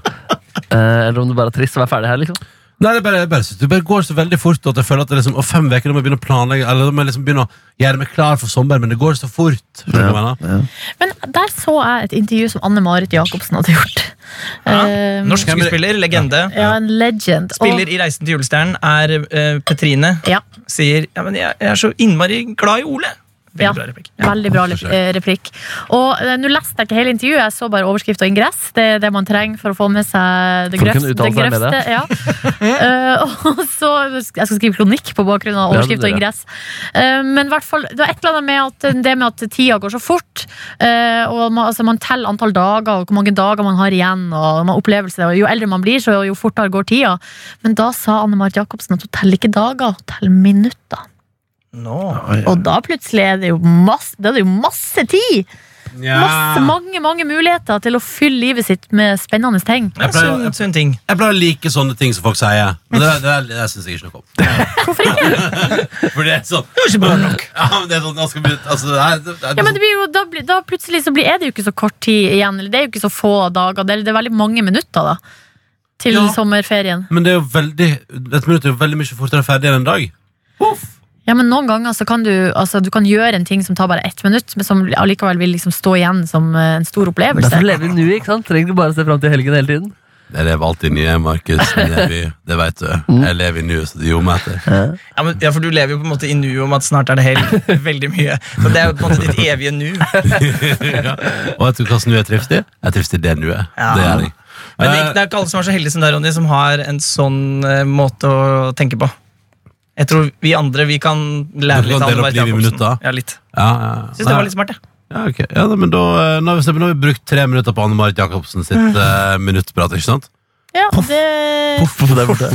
eh, Eller om du bare er trist og er ferdig her, liksom?
Nei, det er bare, jeg bare synes det bare går så veldig fort at jeg føler at det liksom, og fem uker må jeg begynne å planlegge Eller da må jeg liksom begynne å gjøre meg klar for sommeren, men det går så fort. Skjønner du hva jeg mener?
Men der så jeg et intervju som Anne Marit Jacobsen hadde gjort.
Ja.
Eh,
Norsk skuespiller, legende.
ja, en legend. Og-
Spiller i Reisen til julestjernen er eh, Petrine.
Ja,
Sier ja, men jeg, 'Jeg er så innmari glad i Ole'. Veldig
Ja.
bra replikk. Ja.
veldig bra lep-
Forsøk.
eh, replikk. Og eh, Nå leste jeg ikke hele intervjuet, jeg så bare overskrift og ingress. Det er det man trenger for å få med seg det
For å
grøfte.
kunne uttale
det
seg med
grøfte, ja. Eh, og så, Jeg skal skrive kronikk på bakgrunn
Ja,
av
det blir
overskrift og
det.
ingress. Eh, men i hvert fall, det var et eller annet med at det med at tida går så fort, eh, og man, altså, man teller antall dager og hvor mange dager man har igjen, og man opplevelser, og jo eldre man blir, så jo fortere går tida. Men da sa Anne Marit Jacobsen at hun teller ikke dager, hun teller minutter.
Nå.
Og da plutselig er det jo masse, da er det jo masse tid! Masse, mange mange muligheter til å fylle livet sitt med spennende ting.
Ja,
Jeg pleier-
sunn, sunn ting.
Jeg pleier å like sånne ting som folk sier, men det, det, det, det syns jeg ikke noe om.
Hvorfor ikke?
For det er sånn
Det var ikke bra nok.
Ja, men det er sånn, jeg skal begynne- altså, det er, det er,
Ja, men det blir jo, da, blir, da plutselig så blir, er det jo ikke så kort tid igjen. Eller det er jo ikke så få dager. Det er, det er veldig mange minutter da til
Ja.
sommerferien.
men det er jo veldig Et minutt er jo veldig mye fortere ferdig enn en dag.
Ja, men Noen ganger så kan du, altså, du kan gjøre en ting som tar bare ett minutt, men som allikevel vil liksom stå igjen som eh, en stor opplevelse.
Derfor lever vi nu, ikke sant? Trenger du bare å se fram til helgen hele tiden?
Jeg lever alltid nye, Markus. Neby. Det vet du.
Mm.
Jeg lever i nu, så det gjorde meg etter.
Ja, men, ja, for du lever jo på en måte i nuet om at snart er det helg. Veldig mye. Så det er jo på en måte ditt evige nu.
ja. Og vet du hva som nu jeg trives i? Jeg trives i det nuet.
Ja.
Det gjør jeg. Eh,
Men det er, ikke, det er ikke alle som er så heldige som deg, Ronny, som har en sånn eh, måte å tenke på. Jeg tror vi andre vi kan lære
Du kan
litt av
dele
Anne
opp
Marit
livet i
Jacobsen.
minutter.
Ja, litt.
Ja, ja.
Syns det var litt smart, jeg.
Ja, ok. Ja, da, men da, eh, nå, har vi, se- men nå har vi brukt tre minutter på Anne Marit Jacobsen sitt
Mm.
eh, minuttprat, ikke sant?
Ja, det
Poff, der borte.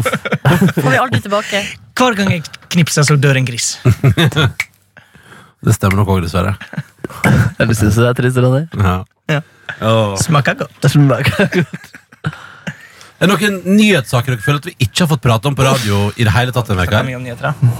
får vi aldri tilbake.
Hver gang jeg knipser, så dør en gris.
Det stemmer nok òg, dessverre.
Eller syns du det er trist, Ronny?
Ja.
Ja.
Åh.
Smaker godt.
Det er som bare-
Er det noen nyhetssaker dere føler at vi ikke har fått prate om på radio? i det hele tatt denne
Det
veka
er
her?
mye om nyheter, da.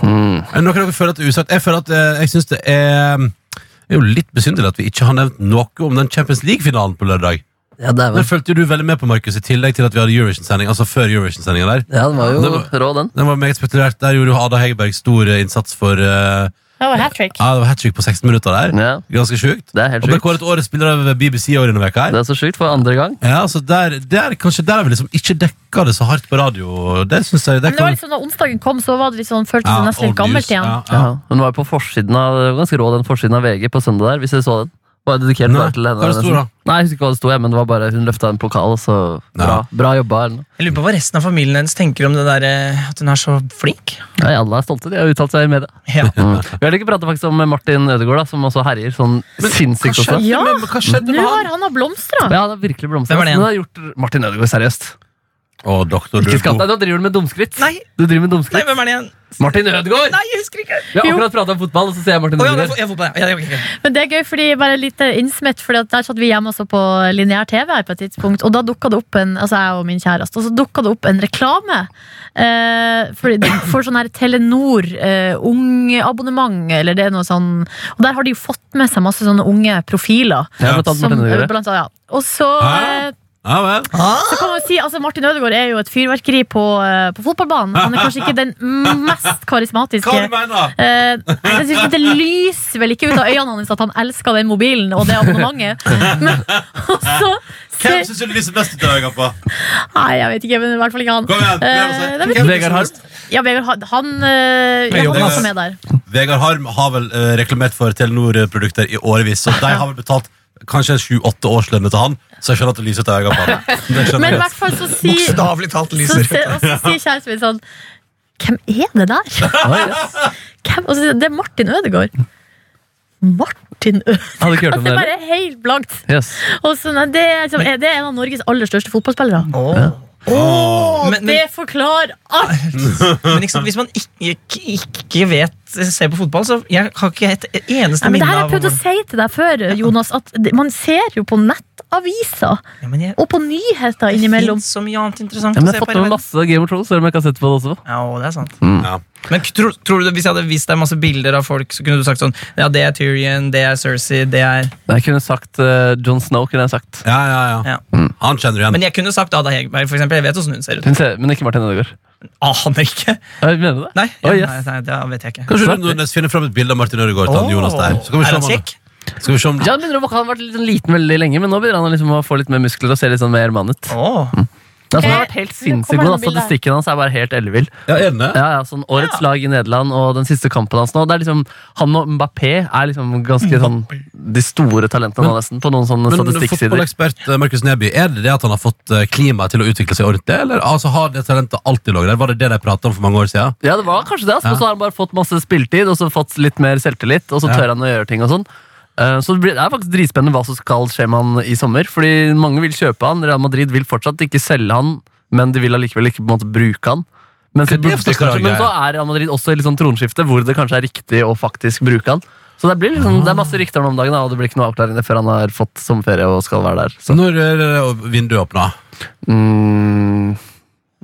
Er det noe dere føler at det er usagt? Jeg føler at eh, jeg synes det er mm, det er jo litt besynderlig at vi ikke har nevnt noe om den Champions League-finalen på lørdag.
Ja, det er
Den
vel.
fulgte jo du veldig med på, Markus, i tillegg til at vi hadde Eurovision-sending. Altså før Eurovision-sendingen der.
Ja, den var jo
Det var-
rå, den.
Den var meget spekulert. Der gjorde jo Ada Hegerberg stor eh, innsats for eh,
Det var hat trick.
Ja, det var hat trick på 16 minutter der.
Ja,
Ganske sjukt.
det er helt
Og ble
sjukt.
kåret årets spiller av BBC over denne veka
Det
her.
er så sjukt for andre gang.
Ja, så der, der, kanskje der har vi liksom ikke dekka det så hardt på radio. Det synes jeg det
Men det var
kan,
liksom, da onsdagen kom, så var det litt sånn, føltes
Ja,
det
old
nesten litt
news.
gammelt igjen.
Ja, ja.
Ja. Hun var jo på forsiden av, det var ganske rå den forsiden av VG på søndag der, hvis dere så den. Bare dedikert
Nei,
bare til henne.
hva det sto
nesten.
da?
Nei, jeg husker ikke hva det sto, jeg, men det var bare hun løfta en pokal, så bra, bra jobba. Eller noe.
Jeg lurer på hva resten av familien hennes tenker om det der eh, at hun er så flink.
Nei, alle er stolte, de har uttalt seg i media.
Ja.
Mm. Vi har ikke pratet faktisk om Martin Ødegaard, da, som også herjer sånn sinnssykt
Hva
også.
skjedde
Ja.
med- men hva skjedde
Nå
med
har
han?
han har blomstra!
Ja, det har virkelig blomstret.
Hvem er det
Men det har gjort Martin Ødegaard seriøst.
Å, doktor, du er
Ikke skatt
god.
deg, nå driver du med dumskritt.
Nei.
Du driver med
Nei,
dumskritt.
hvem er det igjen?
Martin Ødegaard!
Nei, jeg husker ikke!
Vi har akkurat pratet om fotball, og så ser jeg Martin
Å, ja, det er fo-
Ødegaard.
ja, fotball, ja. Ja, ok, ok.
Men det er gøy, fordi bare litt innsmett, fordi at der satt vi hjemme og så på lineær TV her på et tidspunkt, og da dukka det opp en altså jeg og min kjæreste, og så dukka det opp en reklame eh, for, for sånn her Telenor eh, ung-abonnement, eller det er noe sånn Og der har de jo fått med seg masse sånne unge profiler.
Jeg har blant annet
Som,
Martin
eh,
Ødegaard.
blant annet, ja. Og så
Hæ?
eh,
Ja vel.
Ah.
så kan man jo si, altså Martin Ødegaard er jo et fyrverkeri på, eh, på fotballbanen. Han er kanskje ikke den mest karismatiske.
Hva du mener
Eh, nei, jeg synes ikke Det lyser vel ikke ut av øynene hans at han elsker den mobilen og det abonnementet. Men og så
Hvem
ser-
syns du det lyser best ut av øynene på?
Nei, jeg vet ikke, men i hvert fall ikke han.
Kom igjen, prøv å si.
Eh, nei, men-
Hvem
Vegard
synes du-
Ja, Vegard, han, han, eh, ja, han
Jonas.
var også med der.
Vegard Harm har vel eh, reklamert for Telenor-produkter i årevis, så de har vel betalt kanskje sju-åtte årslønner til han, så jeg skjønner at det lyser ut av øynene på han. Det skjønner
Men i
jeg.
hvert fall så sier
Bokstavelig talt
så,
lyser
se- og så sier kjæresten min sånn Hvem er det der?
Oi, yes.
Hvem? Og så, sier jeg, det er Martin Ødegaard. Martin Ødegaard?
Hadde ikke hørt om
Det
det
er
heller.
bare helt blankt.
Yes.
Og så, nei, det, er, liksom, det er en av Norges aller største fotballspillere.
Åh. Men, men,
Det forklarer alt!
men ikke sant, hvis man ikke, ikke, ikke vet ser på fotball, så jeg har ikke et eneste
Nei, men det
minne
her har jeg
av
prøvd å si til deg før, Jonas, at det- man ser jo på nettaviser
ja, men jeg,
og på nyheter
Det
innimellom.
finnes så mye annet interessant
Ja,
å
men
se
jeg har
på.
fått med
i
meg
verden.
masse Game of Thrones, selv om jeg ikke har sett på det også.
Ja, det er sant.
Mm.
Ja.
Men tror, tror du, Hvis jeg hadde vist deg masse bilder av folk, så kunne du sagt sånn Ja, det er Tyrion, det er Cersei, det er
Jeg kunne sagt eh, Jon Snow, kunne jeg sagt.
Ja, ja, ja.
Ja.
Mm.
Han kjenner
Mm.
du igjen.
Men jeg kunne sagt Ada Hegerberg, for eksempel. Jeg vet hvordan hun ser ut.
Hun ser, men ikke Martin Ødegaard.
Aner ikke.
Jeg mener det.
Nei,
Oi,
ja,
yes.
nei, nei, det vet jeg ikke.
Kanskje du Nordnes finner fram et bilde av Martin Ødegaard til han Jonas der. Så kan vi se
er
om
han
han-
kjekk?
skal vi se om
Ja, han begynner å vokse. Han har vært litt sånn liten veldig lenge, men nå begynner han liksom å få litt mer muskler og se litt sånn mer mann ut.
Åh.
Altså, han
Eh,
har
Ok,
vært helt
nå kommer
sinnssykt god. da.
det noen bilder her.
Statistikken hans er bare helt ellevill.
Ja, er den det?
Ja, ja, sånn årets lag i Nederland og den siste kampen hans nå. Det er liksom, Han og Mbappé er liksom ganske sånn de store talentene nå, nesten, på noen sånne
Men
statistikksider.
fotballekspert eh, Markus Neby, er det det at han har fått eh, klimaet til å utvikle seg ordentlig, eller altså, har det talentet alltid ligget der? Var det det de pratet om for mange år siden?
Ja, det var kanskje det, altså.
Ja.
og så har han bare fått masse spiltid og så fått litt mer selvtillit. Og så
Ja.
tør han å gjøre ting og sånn. Eh, Så det blir- det er faktisk dritspennende hva som skal skje med han i sommer. Fordi mange vil kjøpe han, Real Madrid vil fortsatt ikke selge han, men de vil allikevel ikke på en måte bruke han. Men så,
Det er
burde
faktisk
kanskje-
rar
men
greie.
så er Real Madrid også i litt sånn tronskifte, hvor det kanskje er riktig å faktisk bruke han. Så det, blir liksom, det er masse rykter om dagen, da, og det blir ikke noe avklaringer før han har fått sommerferie og skal være der. Så,
Når er det vinduet åpnet?
mm,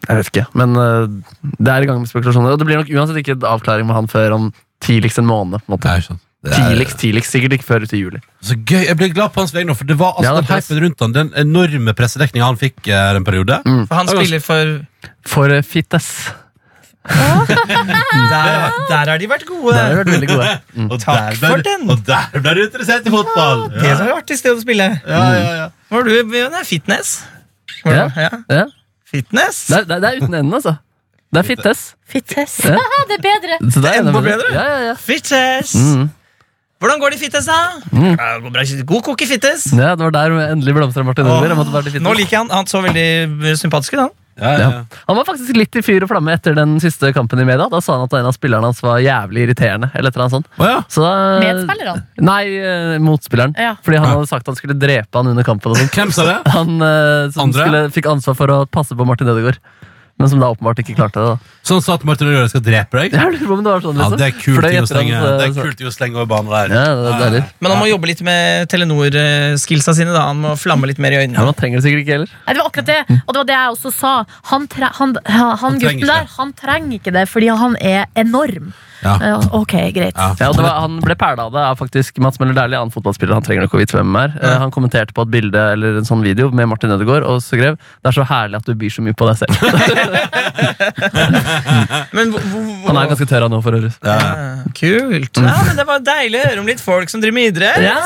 jeg vet ikke, men eh, det er i gang med spekulasjoner. Og det blir nok uansett ikke en avklaring med han før om tidligst en måned. på en måte.
Nei, ikke sant. Det er-
Tidligst, tidligst, sikkert ikke før ut i juli.
Så gøy, Jeg ble glad på hans vegne, nå, for det var altså
Ja,
den
det er press.
hypen rundt han, den enorme pressedekninga han fikk eh, en periode.
Mm.
For han spiller for
For eh, fittes.
Der, der har de vært gode.
Det har vært veldig gode.
Og
Takk
der ble
for
du-
den.
Og der ble du interessert i fotball!
Det som har vært i sted å spille.
Ja, ja, ja.
Var du Nei, fitness? Var
Ja.
du- ja.
Ja.
Fitness?
Det, er, det er- det er uten enden, altså. Det er fittes.
Fittes.
Ja.
det er bedre.
Så det er
Enda
enda
bedre.
Ja, ja, ja.
Fitness!
Mm.
Hvordan går det i fitness, da? Ja, det går bra. God kokk i fitness.
ja, Det var der endelig blomstra Martin Ødegaard. Mm. Jeg måtte bare til
Nå
fittes.
liker jeg han. Han så veldig eh, sympatisk ut, han.
Ja, ja, ja.
Han var faktisk litt i fyr og flamme etter den siste kampen i media. Da sa han at en av spillerne hans var jævlig irriterende. eller et eller annet sånt.
Å, ja.
Så eh, da,
Medspillerne?
Nei, eh, motspilleren.
Ja.
Fordi han hadde sagt han skulle drepe han under kampen. Og sånt.
Hvem sa det?
han eh, som
Andre?
skulle, fikk ansvar for å passe på Martin Ødegaard. Men som da åpenbart ikke klarte det. da.
Sånn sa at Martin Ødegaard skal drepe deg?
Jeg lurer på om det var sånn,
Ja,
liksom.
det er
For
kult i
da
å
gjetter han,
slenge,
eh,
det er
så-
kult i å slenge over banen der.
Ja, det er deilig.
Men han må jobbe litt med Telenor-skillsa sine. da Han må flamme litt mer i
Ja,
øynene.
man trenger det sikkert ikke heller.
Nei, det var akkurat det. Og det var det jeg også sa. Han, tre han, han,
Han trenger
gutten
ikke
der
det.
han trenger ikke det, fordi han er enorm.
Ja.
Eh, ok, greit.
Ja.
Ja, og det var, han ble pæla av det av faktisk Mats Møller Dæhlie, annen fotballspiller. Han trenger ikke å vite hvem er. Eh, Han kommenterte på et bilde eller en sånn video med Martin Ødegaard og skrev det er så herlig at du byr så mye på deg selv.
Men hvor, hvor,
Han er ganske tørr han nå, for øvrig.
Ja. Mm.
Ja, Kult. Ja, men Det var deilig å høre om litt folk som driver med idrett.
Ja.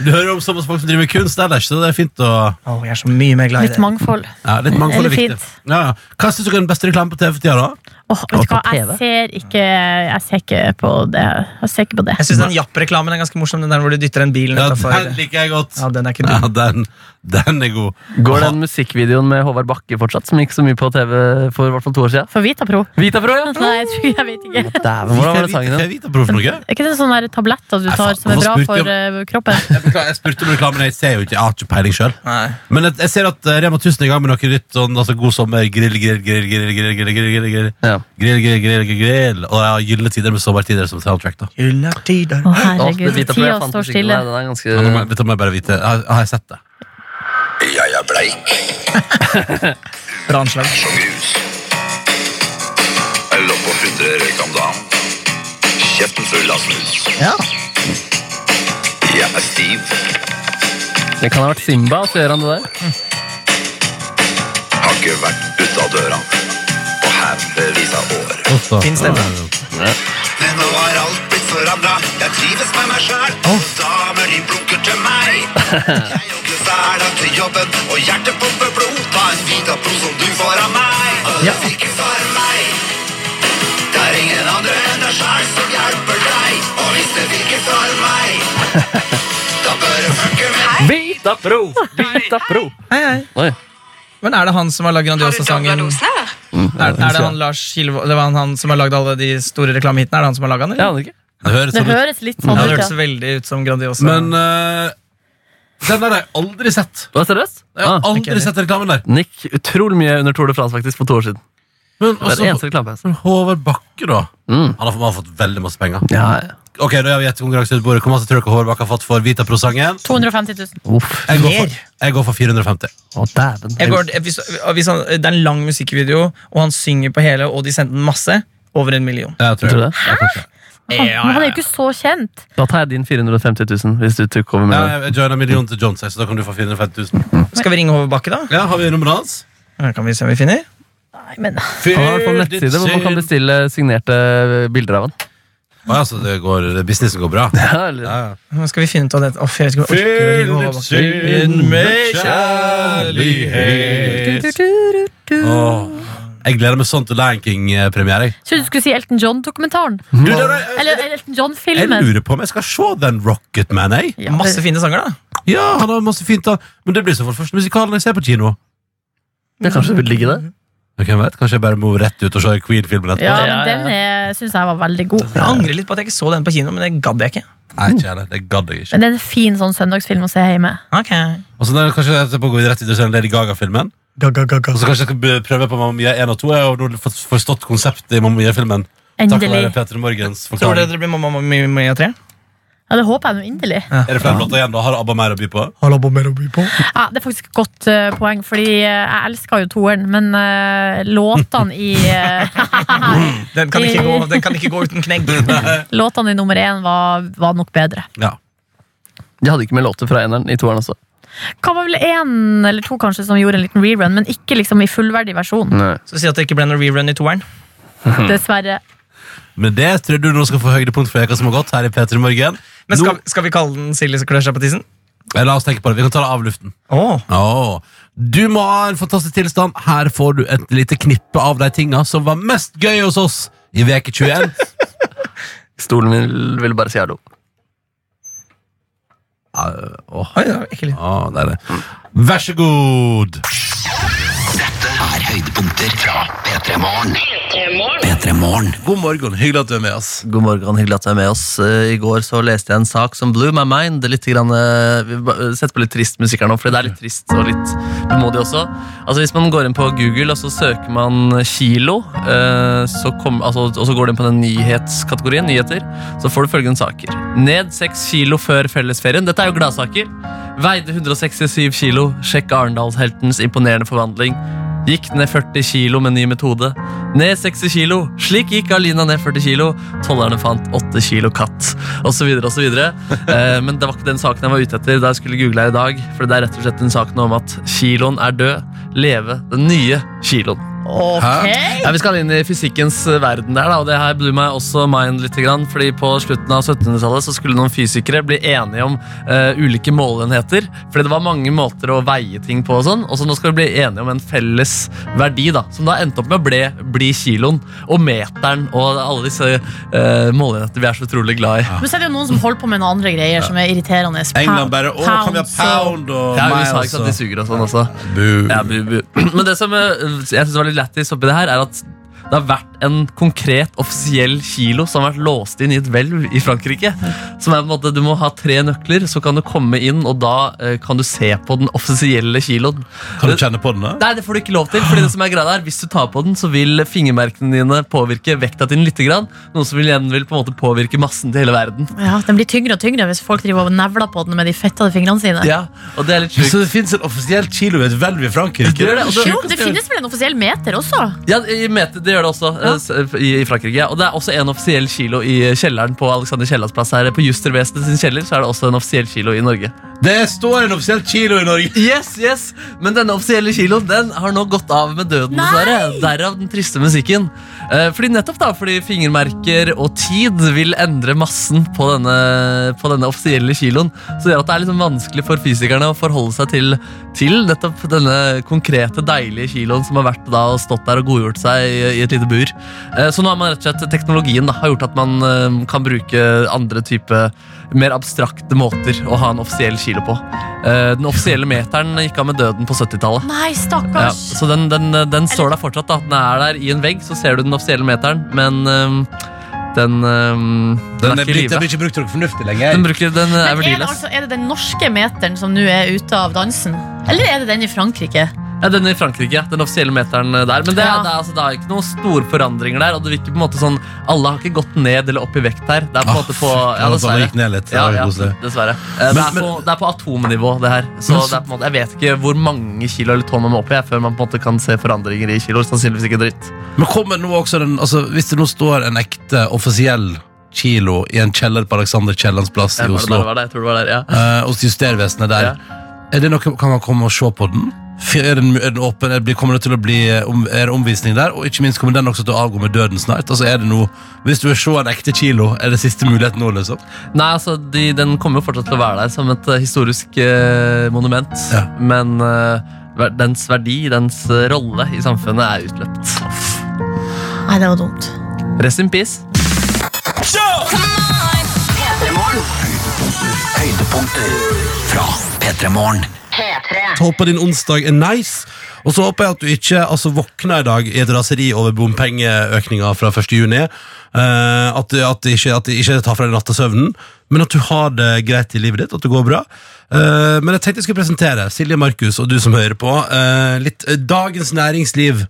Du hører om så masse folk som driver med kunst ellers, så det er fint å
Å, jeg er så mye mer glad i
Litt
det.
mangfold.
ja, Litt mangfold er
Eller
viktig.
fint.
Ja, ja. Hva syns dere er den beste reklamen på TV for tida, da?
Åh, vet du hva,
Og på
jeg ser ikke Jeg ser ikke på det. Jeg ser ikke på det.
Jeg syns den Japp-reklamen er ganske morsom. Den der hvor du dytter den bilen
Ja,
utenfor.
den liker jeg godt.
Ja, den er ikke
Ja,
dum.
den, den er god.
Går den musikkvideoen med Håvard Bakke fortsatt, som gikk så mye på TV for i hvert fall to år siden?
For Vita Pro?
Vita Pro, ja!
Nei, jeg, tror, jeg vet ikke.
Dæven, hvordan var det sangen
Skal
den?
jeg vite hvorfor noe?
Er ikke det sånne der tabletter du
Nei,
tar
faen,
som er
hvorfor
bra
spurte
for eh, kroppen?
Jeg beklager, jeg spurte om reklamen, jeg ser jo ikke, jeg har ikke peiling sjøl.
Nei.
Men jeg, jeg ser at eh, Rema 1000 er i gang med noe nytt. Sånn, altså, god sommer, grill, grill, grill, grill, grill, grill, grill, grill, grill,
Ja.
grill, grill, grill, grill, grill. Og jeg har gylne tider med sommertider som soundtrack. da.
Hylla tider.
Å,
Å, det
herregud.
Vita Pro, jeg
Tida
fant
står
musikken
stille.
der, Den er
Ja, nå må
ganske
jeg- Dette må jeg bare vite. Har, har jeg sett det?
Jeg er bleik
Bra anslag.
som grus. Jeg lå på 100 røyk om dagen. Kjeften full av snus.
Ja.
Jeg er stiv,
Det kan ha vært Simba, så gjør han det der.
har ikke vært ute av døra. Og haugevis av år.
Godt, da.
Fin stemme.
Men nå har alt blitt forandra. Jeg trives med meg sjæl. Damer de blunker til meg. Jeg jogger hver dag til jobben, og hjertet pumper blod. Ta en bit av blod som du får av meg. Alle fikk for meg. Det er ingen andre enn deg sjæl som hjelper deg. Og hvis det virker for meg, da bør du fucke med meg.
Vita Pro! Vita Pro!
Hei, hei.
Oi.
Men er det han som har lagd Grandiosa-sangen? Er, er det han Lars Kilevold Det var han, han som har lagd alle de store reklamehitene? Er det han som har lagd den?
Jeg
eller?
aner ikke.
Det høres
Det
sånn ut.
høres litt sånn
Ja, det
ut,
hørtes
ja.
veldig ut som Grandiosa.
Men eh, den der har jeg aldri sett.
Var det seriøst?
Jeg har
Ah,
aldri sett reklamen der.
den gikk utrolig mye under Tour de France faktisk for to år siden.
Men
Det er den eneste
også
reklame jeg har sett.
Håvard Bakke, da.
Mm.
Han har, han har fått veldig masse penger.
Ja, ja.
Ok, da gjør vi gjettekonkurranse ut bordet. Hvor masse tror dere Håvard Bakke har fått for Vita Pro-sangen?
250 000.
Uff.
Jeg, går
Mer.
for- jeg går for 450.
Å, dæven.
jeg går, hvis, hvis han, det er en lang musikkvideo, og han synger på hele, og de sendte den masse. Over en million.
Jeg tror
Tror du
det.
det?
Ja, kanskje.
Han, men han er jo ikke så kjent.
Da tar jeg din 450 000, hvis du tok over med
Ja,
den.
jeg joiner million til John, så da kan du få 450 000.
Skal vi ringe Hove Bakke, da?
Ja, har vi nummeret hans?
Her Kan vi se om vi finner?
Nei, men
Han har i hvert fall nettside hvor man kan bestille signerte eh, bilder av han.
Å, ja, så det går, det- businessen går bra?
Ja, eller-
Ja, ja.
Nå Skal vi finne ut av det? Åh, jeg vet ikke om jeg orker å ringe Hove Bakke.
Åh, Jeg gleder meg sånn til Lion King-premiere. jeg.
Trodde du skulle si Elton John-dokumentaren.
Du, det er-
Eller Elton
Jeg
John-filmen.
lurer på om jeg skal se den Rocket Man, jeg.
Ja,
Masse fine sanger, da.
Ja, han har masse fint da Men det blir så for det første musikalen jeg ser på kino.
Ja, kanskje det vil ligge der?
Men Hvem vet, Kanskje jeg bare må rett ut og se Queen-filmen etterpå.
ja,
Ja, ja,
men den syns jeg var veldig god.
Jeg angrer litt på at jeg ikke så den på kino, men det gadd jeg ikke.
Nei, ikke heller, det gadd jeg ikke.
Men det er en fin sånn søndagsfilm å se hjemme.
Ok
Og så der, kanskje etterpå går vi rett ut og ser den Lady Gaga-filmen. Og så kanskje jeg skal be- prøve på Mamma Mia 1 og 2. Jeg har nå fått- forstått konseptet i Mamma Mia-filmen. Takk for
Endelig.
være Peter Morgens
Tror dere
forklaring.
det blir Mamma Mia Mia 3?
Ja, det håper jeg nå inderlig.
Er det flere låter igjen? da? Har ABBA mer å by på?
Ja, det er faktisk et godt eh, poeng, fordi eh, jeg elsker jo toeren, men eh, låtene i eh,
Den kan ikke gå, den kan ikke gå uten knegg.
Låtene i nummer én var, var nok bedre.
Ja.
De hadde ikke med låter fra eneren i toeren også.
Hva var vel én eller to kanskje som gjorde en liten rerun, men ikke liksom i fullverdig versjon.
Nei.
Så si at det ikke ble noen rerun i toeren.
Mhm.
Dessverre.
Men det tror jeg du nå skal få høydepunkt for veka som har gått her i Peter Morgen.
Men
Nå-
skal, skal vi kalle den Silje som klør seg på tissen?
Eh, La oss tenke på det. Vi kan ta det av luften.
Åh
Åh. Du må ha en fantastisk tilstand. Her får du et lite knippe av de tinga som var mest gøy hos oss i veke 21.
Stolen min ville bare si hallo.
Åh,
Oi, det var ekkelt.
åh, det er det. Vær så god!
Dette er høydepunkter fra P3 Morgen.
God morgen. Hyggelig at du er med oss.
God morgen, hyggelig at du er med oss. Eh, I går så leste jeg en sak som blew my mind. Det er Litt grann, eh, vi ba- eh, setter på litt trist musikk her nå, for det er litt trist og litt vemodig også. Altså Hvis man går inn på Google og så søker man kilo, eh, så kom, altså, og så går du inn på den nyhetskategorien, nyheter, så får du følgende saker. Ned seks kilo før fellesferien. Dette er jo gladsaker. Veide 167 kilo. Sjekk Arendalsheltens imponerende forvandling. Gikk ned 40 kilo med ny metode. Ned 60 kilo. Slik gikk Alina ned 40 kilo. Tollerne fant 8 kilo katt. Og så videre og så videre. Eh, men det var ikke den saken jeg var ute etter. Da jeg skulle google her i dag. For det er rett og slett den saken om at kiloen er død. Leve den nye kiloen.
Ok!
Ja, vi skal inn i fysikkens eh, verden der, da, og det her blew meg også mind litt. Grann, fordi på slutten av 1700-tallet så skulle noen fysikere bli enige om eh, ulike måleenheter. Fordi det var mange måter å veie ting på og sånn. Og så nå skal vi bli enige om en felles verdi, da, som da endte opp med å ble, bli kiloen. Og meteren og alle disse eh, måleenhetene vi er så utrolig glad i.
Men så er det jo noen som holder på med noen andre greier som er irriterende.
England bare Å, kan vi ha
pounds og-
pound og
Ja,
miles
USA, ikke sant? De
og-
suger og sånn også.
Boo.
Ja, bu, bu. Men det som eh, jeg synes var litt lættis oppi det her, er at det har vært en konkret offisiell kilo som har vært låst inn i et hvelv i Frankrike. Som er på en måte, Du må ha tre nøkler, så kan du komme inn, og da eh, kan du se på den offisielle kiloen.
Kan du kjenne på den, da?
Nei, det får du ikke lov til. fordi det som er greia er, Hvis du tar på den, så vil fingermerkene dine påvirke vekta din litt. Grann, noe som igjen vil på en måte påvirke massen til hele verden.
Ja, Den blir tyngre og tyngre hvis folk driver og nevler på den med de fettede fingrene sine.
Ja, og det er litt sjukt.
Så det fins en offisiell kilo i et hvelv i
Det
Frankrike?
gjør det, og det-
Jo, det finnes vel en offisiell meter også?
Ja, i meter, Det gjør det også eh, s- i, i Frankrike. Og det er også en offisiell kilo i kjelleren på Alexander Kiellands plass her. På Justervesenet sin kjeller så er det også en offisiell kilo i Norge.
Det står en offisiell kilo i Norge!
Yes, yes! Men denne offisielle kiloen den har nå gått av med døden, dessverre. Derav den triste musikken. Eh, Fordi nettopp da, fordi fingermerker og tid vil endre massen på denne, på denne offisielle kiloen. Så det gjør at det er liksom vanskelig for fysikerne å forholde seg til, til nettopp denne konkrete, deilige kiloen som har vært da og stått der og godgjort seg i, i et lite bur. Eh, Så nå har man rett og slett teknologien da, har gjort at man eh, kan bruke andre type mer abstrakte måter å ha en offisiell kilo på. Eh, Den offisielle meteren gikk av med døden på 70-tallet.
Nei,
Ja,
stakkars.
så den, den, den står der fortsatt. da Den er der i en vegg, så ser du den offisielle meteren, men ehm, den, ehm, den
Den
er
er
ikke i
blitt, den
live.
blir ikke brukt til noe fornuftig
Den,
lenger.
bruker, den
Men
er
er det,
verdiløs.
altså, er det den norske meteren som nå er ute av dansen? Eller er det den i Frankrike?
Ja, den i Frankrike, ja, den offisielle meteren der. Men det,
Ja.
er- det, er, altså, det er ikke noen store forandringer der. Og det virker på en måte sånn Alle har ikke gått ned eller opp i vekt her. Det er på en
Ah,
måte på
fuck,
ja,
alle
dessverre.
gikk ned litt. Det
Ja,
var
ja,
koselig.
dessverre. Eh, det,
Men-
er på,
men-
det er på atomnivå, det her. Så
Men så-
det er på en måte, Jeg vet ikke hvor mange kilo eller tonn man må opp i jeg, før man på en måte kan se forandringer i kiloer. Sannsynligvis ikke dritt.
Men kommer nå også den, altså, Hvis det nå står en ekte offisiell kilo i en kjeller på Alexander Kiellands plass i
Jeg, var det, der,
Oslo,
var det, jeg tror det var der, ja.
eh, hos Justervesenet der,
Ja.
er det noe, kan man komme og se på den? F- Er den, er den åpen? Er det, kommer det til å bli eh, om, er det omvisning der? Og ikke minst kommer den også til å avgå med døden snart? Altså, er det noe, hvis du vil se en ekte kilo, er det siste mulighet nå, liksom?
Nei, altså, de, Den kommer jo fortsatt til å være der som et eh, historisk eh, monument.
Ja.
Men eh, ver- dens verdi, dens eh, rolle i samfunnet, er utløpt.
Nei, det var dumt.
Rest in peace.
Høydepunkter fra P3 Morgen.
Så håper jeg din onsdag er nice. Og så håper jeg at du ikke altså, våkner i dag i et raseri over bompengeøkninga fra 1. juni. Eh, at, du- at, det ikke, at det ikke tar fra deg nattesøvnen, men at du har det greit i livet ditt. At det går bra. Eh, men jeg tenkte jeg skulle presentere Silje Markus og du som hører på. eh, litt eh, Dagens Næringsliv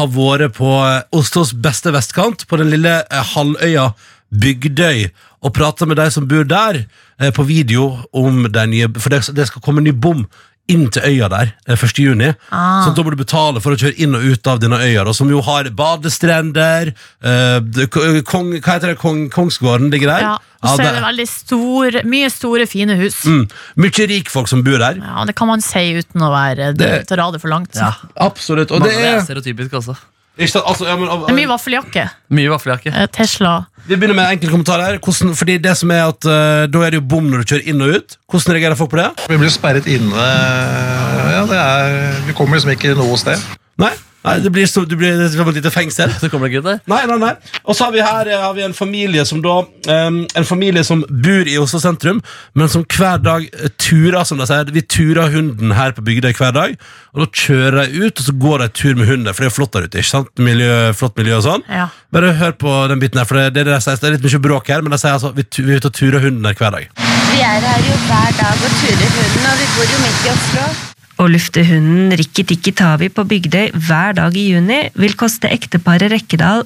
har vært på eh, Oslos beste vestkant, på den lille eh, halvøya Bygdøy, og prata med de som bor der, eh, på video om de nye For det, det skal komme en ny bom inn til øya der eh, 1. juni.
Ah.
Så da må du betale for å kjøre inn og ut av denne øya, da, som jo har badestrender eh, det- kong, Hva heter det? Kong, Kongsgården ligger der.
Ja, og så
det-
er det veldig stor, mye store, fine hus.
mm, Mye rikfolk som bor der.
Ja, Det kan man si uten å være
Det-
til å dra det for langt.
Ja.
Absolutt. Og
Mange
det
det
er
er stereotypisk også.
ikke sant, altså, ja, men,
altså. Det er mye vaffeljakke.
Mye vaffeljakke.
eh, Tesla.
Vi begynner med en enkel kommentar her. Hvordan, fordi det som er at eh, Da er det jo bom når du kjører inn og ut. Hvordan reagerer folk på det?
Vi blir sperret inne. Ja, det er, vi kommer liksom ikke noe sted.
Nei, Nei, det blir, så, det blir, det blir et lite fengsel.
Så kommer det ikke ut der.
Nei, nei, nei. Og så har vi her eh, har vi en familie som da em, En familie som bor i Oslo sentrum, men som hver dag eh, turer, som de sier. Vi turer hunden her på Bygdøy hver dag. Og da kjører de ut, og så går de tur med hunden, for det er jo flott der ute. ikke sant? Miljø, flott miljø og sånn.
Ja.
Bare hør på den biten her, for det, det, er det, de sier, det er litt mye bråk her, men de sier altså vi, tu- vi er ute og turer hunden der hver dag.
Vi er her jo hver dag og turer hunden, og vi bor jo midt i Oslo.
Å lufte hunden Rikki Tikki Tavi på Bygdøy hver dag i juni vil koste ekteparet Rekkedal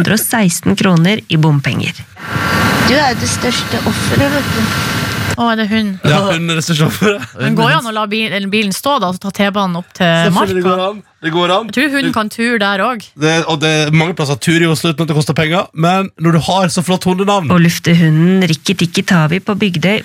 816 kroner i bompenger.
Du er jo det største offeret, vet du.
Å, er det hun?
Ja, hunden er det største offeret.
Men går det an å la bil- eller bilen stå da, og så ta T-banen opp til
Selvfølgelig går
Marka?
det an. Det går an.
Jeg tror hunden kan tur der òg.
Det, og det er mange plasser tur i Oslo uten at det koster penger, men når du har så flott hundenavn
Å lufte hunden Rikki Tikki Tavi på Bygdøy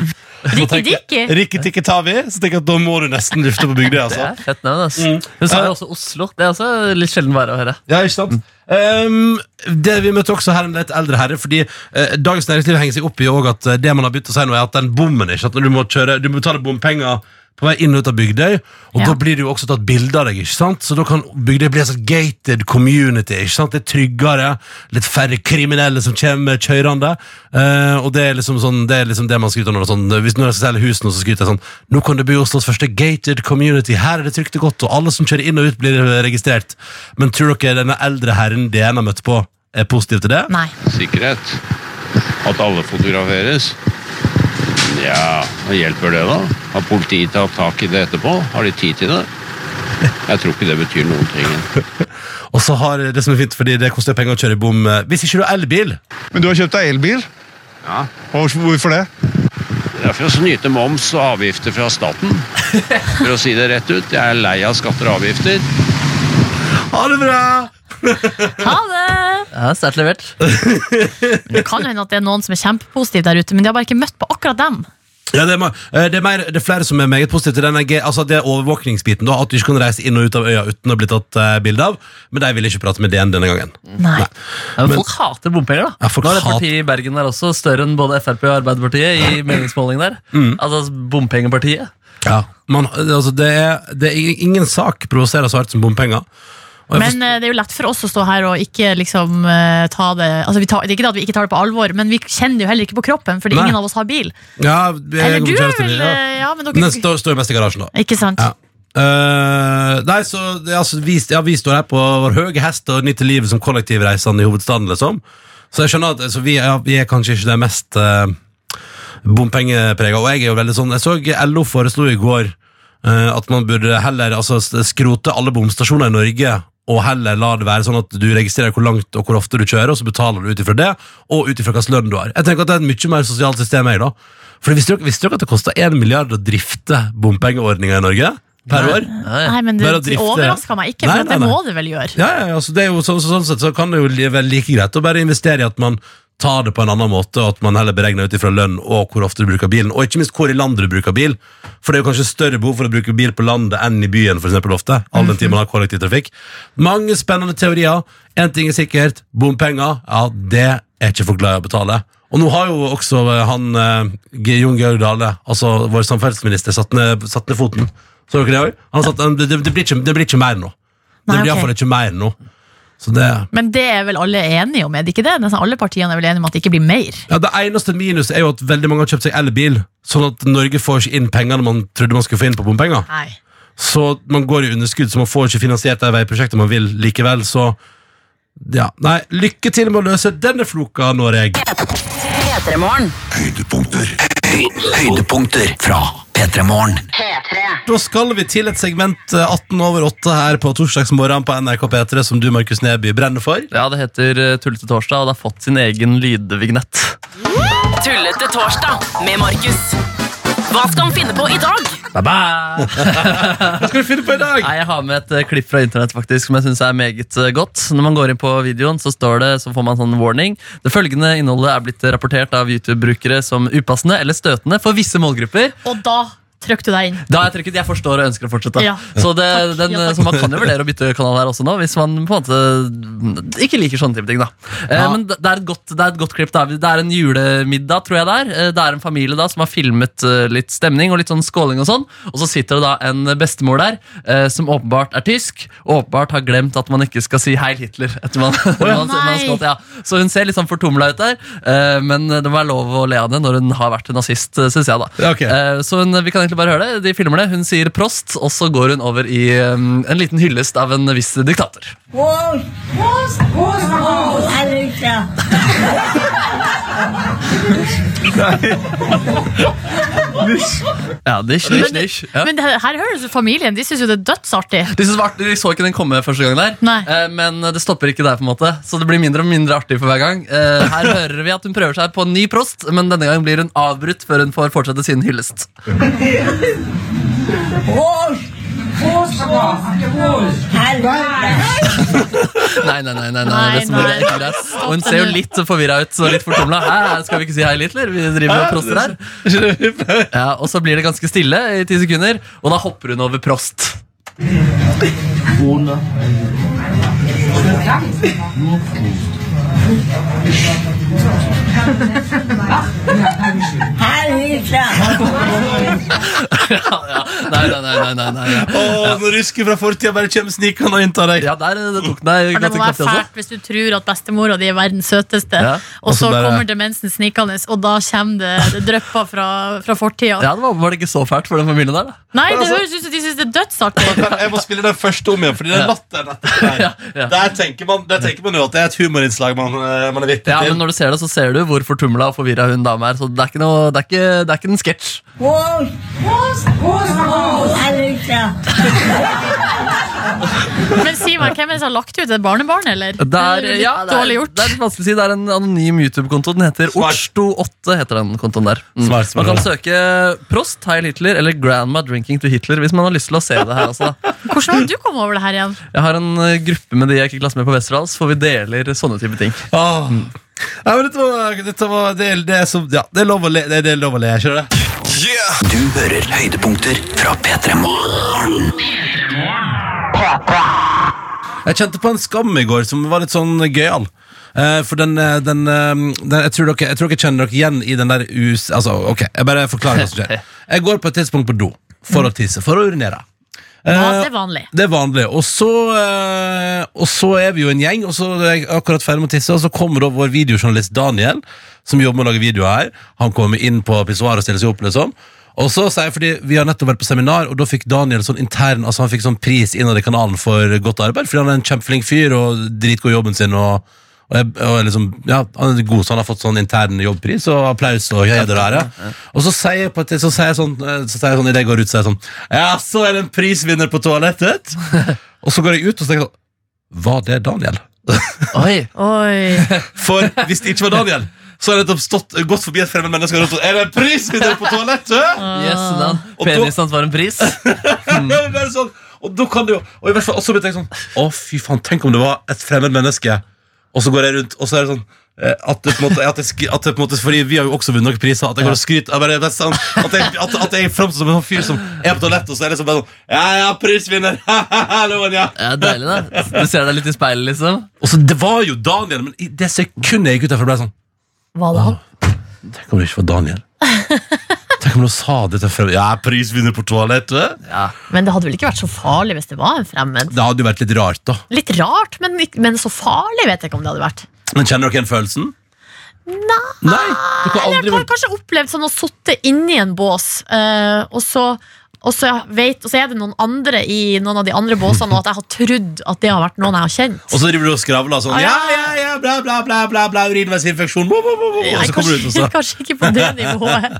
Rikki Dikki.
Rikke Tikke Tavi, så tenker jeg at da må du nesten lufte på bygda.
Det
Altså.
er fett navn, ass. Hun sa jo også Oslo. Det er også litt sjelden bare å høre.
Ja, ikke sant? Um, det Vi møtte også her en litt eldre herre, fordi eh, Dagens Næringsliv henger seg opp i også at eh, det man har begynt å si nå, er at den bommen ikke sant? Når Du må, kjøre, du må betale bompenger på vei inn og ut av Bygdøy, og
Ja.
da blir det jo også tatt bilde av deg, ikke sant? Så da kan Bygdøy bli en sånn gated community, ikke sant? Det er tryggere, litt færre kriminelle som kommer kjørende, eh, og det er liksom sånn, det er liksom det man skryter av når det er sånn, hvis når jeg skal selge hus nå, så skryter jeg sånn, nå kan du bli Oslos første gated community, her er det trygt og godt, og alle som kjører inn og ut blir eh, registrert. Men tror dere denne eldre herren DN har møtt på, er positiv til det?
Nei.
sikkerhet. At alle fotograferes. Ja, hva hjelper det da? Har politiet tatt tak i det etterpå? Har de tid til det? Jeg tror ikke det betyr noen ting.
Og så har det som er fint, fordi det koster penger å kjøre i bom, eh, hvis ikke du har elbil,
Men du har kjøpt deg elbil?
Ja.
Og hvorfor det?
Det er for å snyte moms og avgifter fra staten. For å si det rett ut, jeg er lei av skatter og avgifter.
ha det bra!
Ha det!
Ja, Sterkt levert.
Det kan jo hende at det er noen som er kjempepositive der ute, men de har bare ikke møtt på akkurat dem.
Ja, det, er, ma- eh, det, er mer, det er flere som er meget positive til denne ge- altså det er overvåkningsbiten. Da, at du ikke kan reise inn og ut av øya uten å bli tatt eh, bilde av. Men de ville ikke prate med DN denne gangen.
Nei.
Ja, men folk hater bompenger, da.
Ja, folk
Nå er det
hater-
partiet i Bergen der også større enn både Frp og Arbeiderpartiet i meningsmåling der.
Mm.
Altså bompengepartiet.
Ja. Man, altså det, er, det er ing- ingen sak provoserer så hardt som bompenger. Og jeg
Men eh, det er jo lett for oss å stå her og ikke liksom eh, ta det Altså, vi tar, Det er ikke det at vi ikke tar det på alvor, men vi kjenner det jo heller ikke på kroppen, fordi
Nei.
ingen av oss har bil.
forstår- ja, jeg
Eller
kommer
du,
til å kjøre til
vel?
det, ja.
eh, Ja, men
Den
dere
står, står jo mest i garasjen, da.
Ikke sant?
Ja. Eh, nei, så det, er altså, vi, ja, vi står her på vår høye hest og nyter livet som kollektivreisende i hovedstaden. liksom Så jeg skjønner at altså, vi, ja, vi er kanskje ikke det mest uh, bompengeprega. Og jeg er jo veldig sånn Jeg så LO foreslo i går eh, at man burde heller altså, s- skrote alle bomstasjoner i Norge. Og heller la det være sånn at du registrerer hvor langt og hvor ofte du kjører, og så betaler du ut ifra det, og ut ifra hvilken lønn du har. Jeg tenker at det er et mye mer sosialt system, jeg, da. For visste dere, visste dere at det koster 1 milliard å drifte bompengeordninga i Norge per år?
Ja, ja.
Nei, men det,
Bare å
det
drifte-
overrasker meg ikke, for
Nei, nei,
at det
nei.
må det vel gjøre.
Ja, ja, ja så det er jo sånn, så, sånn sett så kan det jo li- være like greit å bare investere i at man tar det på en annen måte, og at man heller beregner ut ifra lønn og hvor ofte du bruker bilen, og ikke minst hvor i landet du bruker bil. For det er jo kanskje større behov for å bruke bil på landet enn i byen, for eksempel ofte, all den tid man har kollektivtrafikk. Mange spennende teorier. En ting er sikkert, bompenger, ja, det er ikke folk glad i å betale. Og nå har jo også eh, han, eh, G- Jon Georg Dale, altså vår samferdselsminister, satt ned, satt ned foten. Så dere det også? Han satt, det, det, blir ikke, det blir ikke mer nå. Det
Nei,
blir
ok.
iallfall ikke mer nå. Så det,
Men det er vel alle enige om, er det ikke det? Nesten alle partiene er vel enige om at det ikke blir mer.
ja, det eneste minuset er jo at veldig mange har kjøpt seg elbil, sånn at Norge får ikke inn pengene man trodde man skulle få inn på bompenger.
Nei.
Så man går i underskudd, så man får ikke finansiert de veiprosjektene man vil likevel. Så ja, nei, lykke til med å løse denne floka, Norge.
Høydepunkter. Høydepunkter fra P3 Morgen.
Da skal vi til et segment eh, 18 over 8 her på torsdagsmorgen på NRK P3 som du, Markus Neby, brenner for.
ja, det heter eh, Tullete torsdag, og det har fått sin egen lydvignett.
Tullete torsdag med Markus. Hva skal han finne på i dag?
Hva skal vi finne på i dag?
Nei, Jeg har med et eh, klipp fra internett faktisk som jeg synes er meget eh, godt. Når man går inn på videoen, så står det, så får man sånn warning. Det følgende innholdet er blitt rapportert av YouTube-brukere som upassende eller støtende for visse målgrupper.
Og da trykk du deg inn.
Da har jeg trykket 'jeg forstår og ønsker å fortsette'.
Ja.
Så, det, den,
Ja, takk.
så man kan jo vurdere å bytte kanal her også nå, hvis man på en måte ikke liker sånne type ting. da Eh, Men det det er, et godt, det er et godt klipp. Det er, det er en julemiddag, tror jeg det er. Eh, Det er en familie da som har filmet eh, litt stemning og litt sånn skåling og sånn. Og så sitter det da en bestemor der eh, som åpenbart er tysk, og åpenbart har glemt at man ikke skal si 'Heil Hitler' etter man, man, man skal
Nei.
til ja. Så hun ser litt sånn fortumla ut der, eh, men det må være lov å le av det når hun har vært nazist, syns jeg. da
Ja, ok.
Eh, Så hun, vi kan egentlig bare høre det. De filmer det. Hun sier prost, og så går hun over i eh, en liten hyllest av en viss diktator. Ja, nish, nish, nish. Ja.
Men det, her høres familien. De syns jo det er dødsartig.
De, synes det var artig, de så ikke den komme første gang der,
Nei.
Eh, men det stopper ikke der. på en måte Så det blir mindre og mindre artig for hver gang. Eh, Her hører vi at hun prøver seg på en ny prost, men denne gangen blir hun avbrutt før hun får fortsette sin hyllest. Nei, nei, nei. nei, nei,
Nei,
bestemor er
nei.
ikke greit. Og hun ser jo litt forvirra ut og litt fortumla. Hæ, Skal vi ikke si hei, Hitler? Vi driver og proster her. Ja, og så blir det ganske stille i ti sekunder, og da hopper hun over prost. Ja, ja. Nei, nei, nei. nei, nei, nei. ja.
Åh, Når rusker fra fortida bare kommer snikende og inntar deg.
Ja, der eh, det tok deg
For det
ganske
må være
knapt, altså.
fælt hvis du tror at bestemora di er verdens søteste,
Ja,
og så
og så bare-
kommer demensen snikende, og da kommer det, det drypper fra, fra fortida.
Ja, det var åpenbart ikke så fælt for den familien der. da
Nei, det høres ut som de syns det er dødsartig.
Jeg må spille den første om igjen, fordi den latteren etter
Ja, ja.
Der tenker man, der tenker man jo at det er et humorinnslag man, eh, man er vitne
Ja,
til.
men Når du ser det, så ser du hvor fortumla og forvirra hun dame er. Så det er ikke, noe, det er ikke, det er ikke en sketsj.
Men si meg, hvem er det som har lagt ut? Er det barnebarnet, eller?
Det er,
litt
ja, det, er,
dårlig gjort.
det er litt vanskelig å si. Det er en anonym YouTube-konto. Den heter
Smart.
Orsto8. heter den kontoen der mm.
Smart, smart.
Man kan søke Prost, Heil Hitler eller Grandma Drinking to Hitler hvis man har lyst til å se det her. Altså. da.
Hvordan var det du kom over det her igjen?
Jeg har en eh, gruppe med de jeg ikke klasser med på Westerdals, for vi deler sånne type ting.
Åh. Ah. Nei, men dette var, dette var det, er- det, er som, ja, det er lov å le, det er- det er lov å le skjønner du? det?
Du hører høydepunkter fra P3 Morgen.
Jeg kjente på en skam i går som var litt sånn gøyal. Eh, for den, eh, den, eh, den jeg, tror dere, jeg tror dere kjenner dere igjen i den der us... Altså, ok, jeg bare forklarer hva som skjer. Jeg går på et tidspunkt på do for å tisse, for å urinere.
Ja,
Eh,
det er vanlig.
Det er vanlig. Og så, eh, og så er vi jo en gjeng, og så er jeg akkurat ferdig med å tisse, og så kommer da vår videojournalist Daniel, som jobber med å lage videoer her. Han kommer inn på pissoaret og stiller seg opp, liksom. Og så sier jeg, fordi Vi har nettopp vært på seminar, og da fikk Daniel sånn intern Altså han fikk sånn pris innad i kanalen for godt arbeid, fordi han er en kjempeflink fyr og dritgod i jobben sin. og og, jeg, og liksom, ja, Han er god, så han har fått sånn intern jobbpris og applaus. Og heder og ære. Og så sier jeg på et, så sier jeg sånn, eh, så sier jeg sånn idet jeg går ut, så er jeg sånn Ja, så er det en prisvinner på toalettet! og så går jeg ut og så tenker jeg sånn Var det Daniel?
Oi,
Oi.
For hvis det ikke var Daniel, så har jeg nettopp stått- gått forbi et fremmed menneske og ropt sånn, Er det en prisvinner på toalettet?!
yes, da.
Og da-
Penisen hans var en pris.
Ja, men bare sånn Og da kan det jo Og i hvert fall Og så begynte jeg sånn Å fy faen Tenk om det var et fremmed menneske Og så går jeg rundt Og så er det sånn eh, at det på en måte At det, skri- at det på en måte Fordi vi har jo også vunnet noen priser At jeg går og skryter jeg bare, bare sånn, at, jeg, at, at jeg fremstår som en sånn fyr Som er på toalettet Og så er det sånn bare sånn Ja, ja, prisvinner Hallo, ja
Ja, Deilig, da. Du ser deg litt i speilet, liksom.
Og så det var jo Daniel Men i det sekundet jeg gikk ut derfra Ble jeg sånn
Var det han?
Tenk om det ikke var Daniel Tenk om du sa det til fremmed Ja, prisvinner på toalettet
Ja.
Men det hadde vel ikke vært så farlig hvis det var en fremmed?
Det hadde jo vært litt rart da
Litt rart, men, ikk- men så farlig vet jeg ikke om det hadde vært.
Men kjenner dere den følelsen? Nei Nei Du kan
Eller
aldri
jeg har kanskje opplevd sånn å sitte inni en bås, eh, og så og så, vet, og så er det noen andre i noen av de andre båsene, og at jeg har trodd at det har vært noen jeg har kjent.
Og så driver du og skravler sånn
Ah,
Ja,
ja.
ja, ja, bla, bla, bla, bla, bla urinveisinfeksjon bo, bo, bo, bo, Og
Nei,
så kommer du ut og så
kanskje, kanskje ikke på det nivået,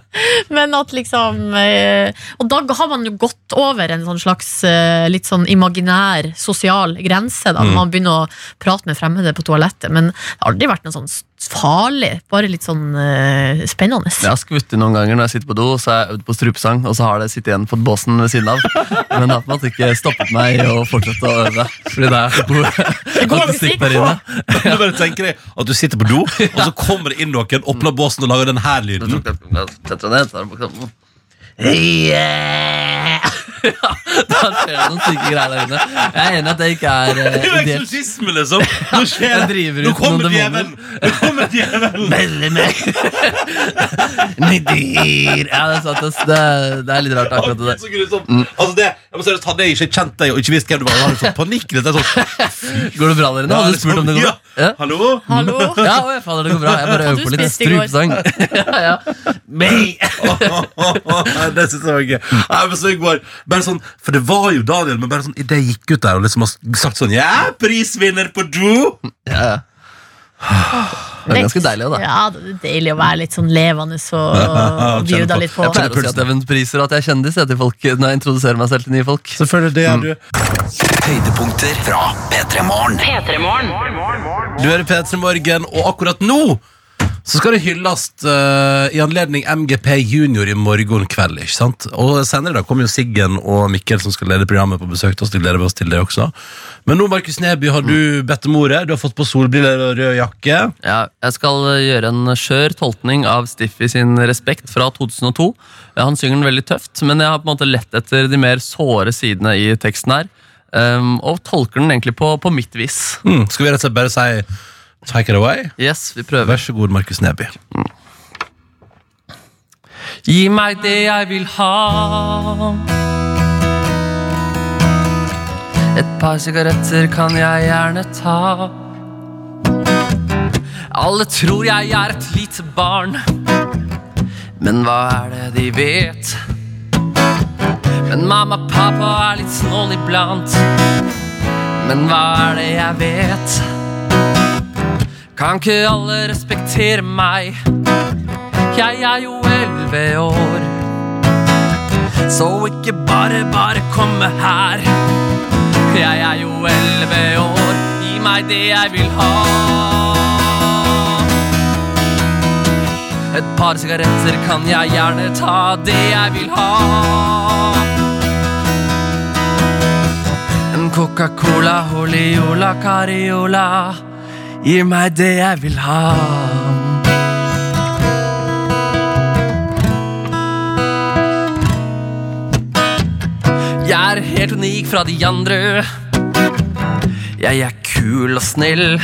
men at liksom eh, Og da har man jo gått over en sånn slags eh, litt sånn imaginær sosial grense,
Mm.
da. når Man begynner å prate med fremmede på toalettet, men det har aldri vært noe sånn s- farlig, bare litt sånn eh, spennende.
Jeg har skutt inn noen ganger når jeg sitter på do, så har jeg øvd på strupesang, og så har det sittet igjen på båsen ved siden av. Men det har på en måte ikke stoppet meg å fortsette å øve. Fordi det er så god akustikk der inne.
Du bare tenker deg at du sitter på do Og så kommer det inn noen, åpner båsen og lager den her lyden
Setter deg ned, tar den på kroppen. Yeah! ja, da skjer det noen syke greier der inne. Jeg er enig i at det ikke er eh,
Det er jo
ideelt.
eksorsisme, liksom! Nå skjer
Jeg
det!
driver
Nå
ut noen
kommer
demoner.
djevelen! Nå kommer djevelen!
Veldig meg! Nydyr! Ja, det er sant. ass. Det, det er litt rart, akkurat det
Gud,
der.
så grusomt. Altså det, jeg må seriøst, Hadde jeg ikke kjent deg og ikke visst hvem du var, hadde jeg fått panikk. Det er sånn,
Går det bra der inne?
Ja,
Hadde du
liksom,
spurt om det går bra? Ja.
Hallo?
Hallo?
Ja, å, jeg fader, det går bra. Jeg bare
Hva
øver
du
på litt
spiste i går?
strupesang. ja, ja. Meg.
Nei, det synes jeg var gøy. Nei, men så i går, bare sånn, for det var jo Daniel, men bare sånn, idet jeg gikk ut der og liksom har sagt sånn Ja, prisvinner på Drew!
Ja, ja. Det er ganske deilig, også, da.
Ja, det er deilig å være litt sånn levende og,
Ja,
og
kjenne
bjuda
på-
litt på.
Jeg pleier å si at jeg vant priser og at jeg er kjendis jeg, til folk når jeg introduserer meg selv til nye folk.
Selvfølgelig, det er du.
Høydepunkter fra P3 Morgen.
Du hører P3 Morgen, og akkurat nå så skal det hylles eh, i anledning MGP Junior i morgen kveld. ikke sant? Og senere da kommer jo Siggen og Mikkel, som skal lede programmet, på besøk til oss. Det gleder vi oss til det også. Men nå, Markus Neby, har du bedt om ordet. Du har fått på solbriller og rød jakke.
Ja, jeg skal eh, gjøre en skjør tolkning av Stiffy sin Respekt fra 2002. Eh, Han synger den veldig tøft, men jeg har på en måte lett etter de mer såre sidene i teksten her. ehm, og tolker den egentlig på, på mitt vis.
Mm. Skal vi rett og slett bare si take it away?
Yes, vi prøver.
Vær så god, Markus Neby.
Gi meg det jeg vil ha. Et par sigaretter kan jeg gjerne ta. Alle tror jeg er et lite barn, men hva er det de vet? Men mamma og pappa er litt snål iblant, men hva er det jeg vet? Kan ikke alle respektere meg? Jeg er jo elleve år. Så ikke bare, bare komme her. Jeg er jo elleve år. Gi meg det jeg vil ha. Et par sigaretter kan jeg gjerne ta, det jeg vil ha. En Coca-Cola, Holiola, Cariola. Gi meg det jeg vil ha. Jeg er helt unik fra de andre. Jeg er kul og snill.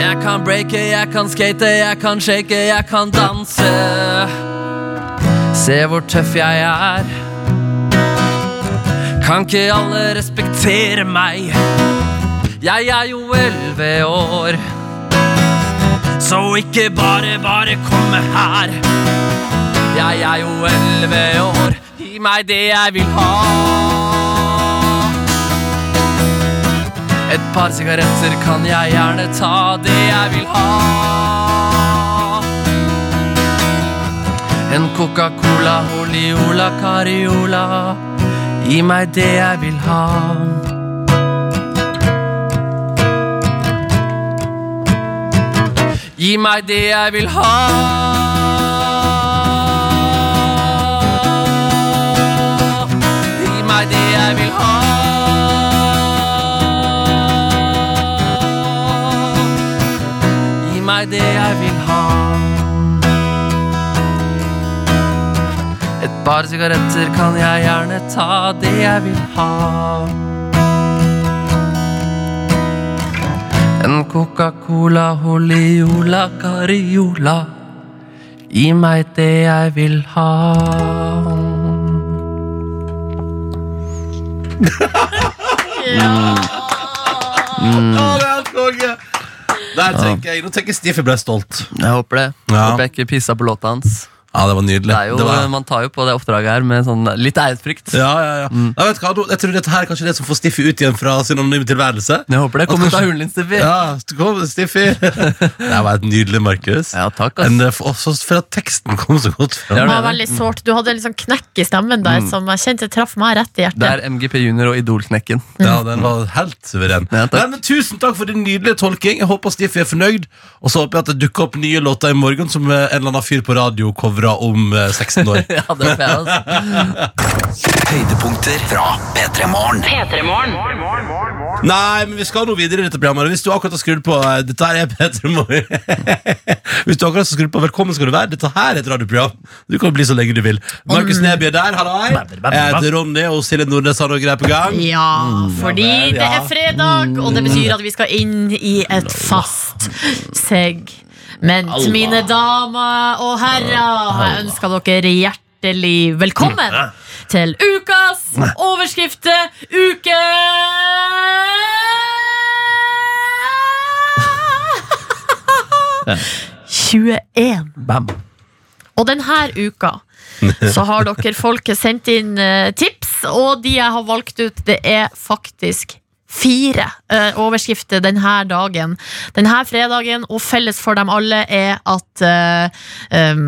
Jeg kan breake, jeg kan skate, jeg kan shake, jeg kan danse. Se hvor tøff jeg er. Kan ikke alle respektere meg? Jeg er jo elleve år. Så ikke bare, bare komme her. Jeg er jo elleve år. Gi meg det jeg vil ha. Et par sigaretter kan jeg gjerne ta, det jeg vil ha. En Coca-Cola, Oliola, Cariola. Gi meg det jeg vil ha. Gi meg det jeg vil ha. Gi meg det jeg vil ha. Gi meg det jeg vil ha. Et par sigaretter kan jeg gjerne ta, det jeg vil ha. En Coca-Cola, Holiola, Cariola. Gi meg det jeg vil ha.
Ja, det er helt konge! Der tenker jeg, Nå tenker jeg Stiffy ble stolt.
Jeg håper det.
Ja.
Håper jeg ikke pissa på låta hans.
Ja, det var nydelig.
Det er jo, eh,
Det var-
Man tar jo på det oppdraget her med sånn litt æresfrykt.
ja, ja, ja.
Mm.
Nei, vet du hva, nå- jeg tror dette her er kanskje det som får Stiffy ut igjen fra sin anonyme tilværelse.
Jeg håper det kommer ut av hulen din, Steffi. Ja.
Ja, kom, Stiffy. Det var helt nydelig, Markus.
takk, ass.
Men det- for- Også for at teksten kom så godt fram.
Ja, det
Det var
er det. Mm.
veldig sårt. Du hadde en liksom knekk i stemmen der som jeg kjente traff meg rett i
Det
hjertet.
er MGP Junior og Idol-knekken.
Ja, den var helt suveren.
Ja, takk.
Nei, men Tusen takk for din nydelige tolking. Jeg Håper Stiffy er fornøyd. Og så håper jeg at det dukker opp nye låter i morgen som eh, en eller annen fyr på radio covrer bra om eh, 16 år.
ja, det får jeg, altså.
Høydepunkter fra P3 Morgen.
Nei, men vi skal nå videre i dette programmet. Hvis du akkurat har skrudd på eh, Dette her er Petter Moe. Hvis du akkurat har skrudd på Velkommen skal du være, dette her er et radioprogram. Du kan bli så lenge du vil. Markus Neby er der, hallai. Jeg heter Ronny, og Silje Nordnes har noe greier på gang.
Ja, fordi
Mm, ja vel,
det
ja. Mm.
er fredag, og det betyr at vi skal inn i et fast segment.
Allah.
Mine damer og herrer, jeg ønsker dere hjertelig velkommen
Mm.
til ukas overskrifte uke
Ja.
21.
Bam.
Og denne uka så har dere folket sendt inn eh, tips, og de jeg har valgt ut, det er faktisk fire eh, overskrifter denne dagen. Denne fredagen, og felles for dem alle, er at eh, em,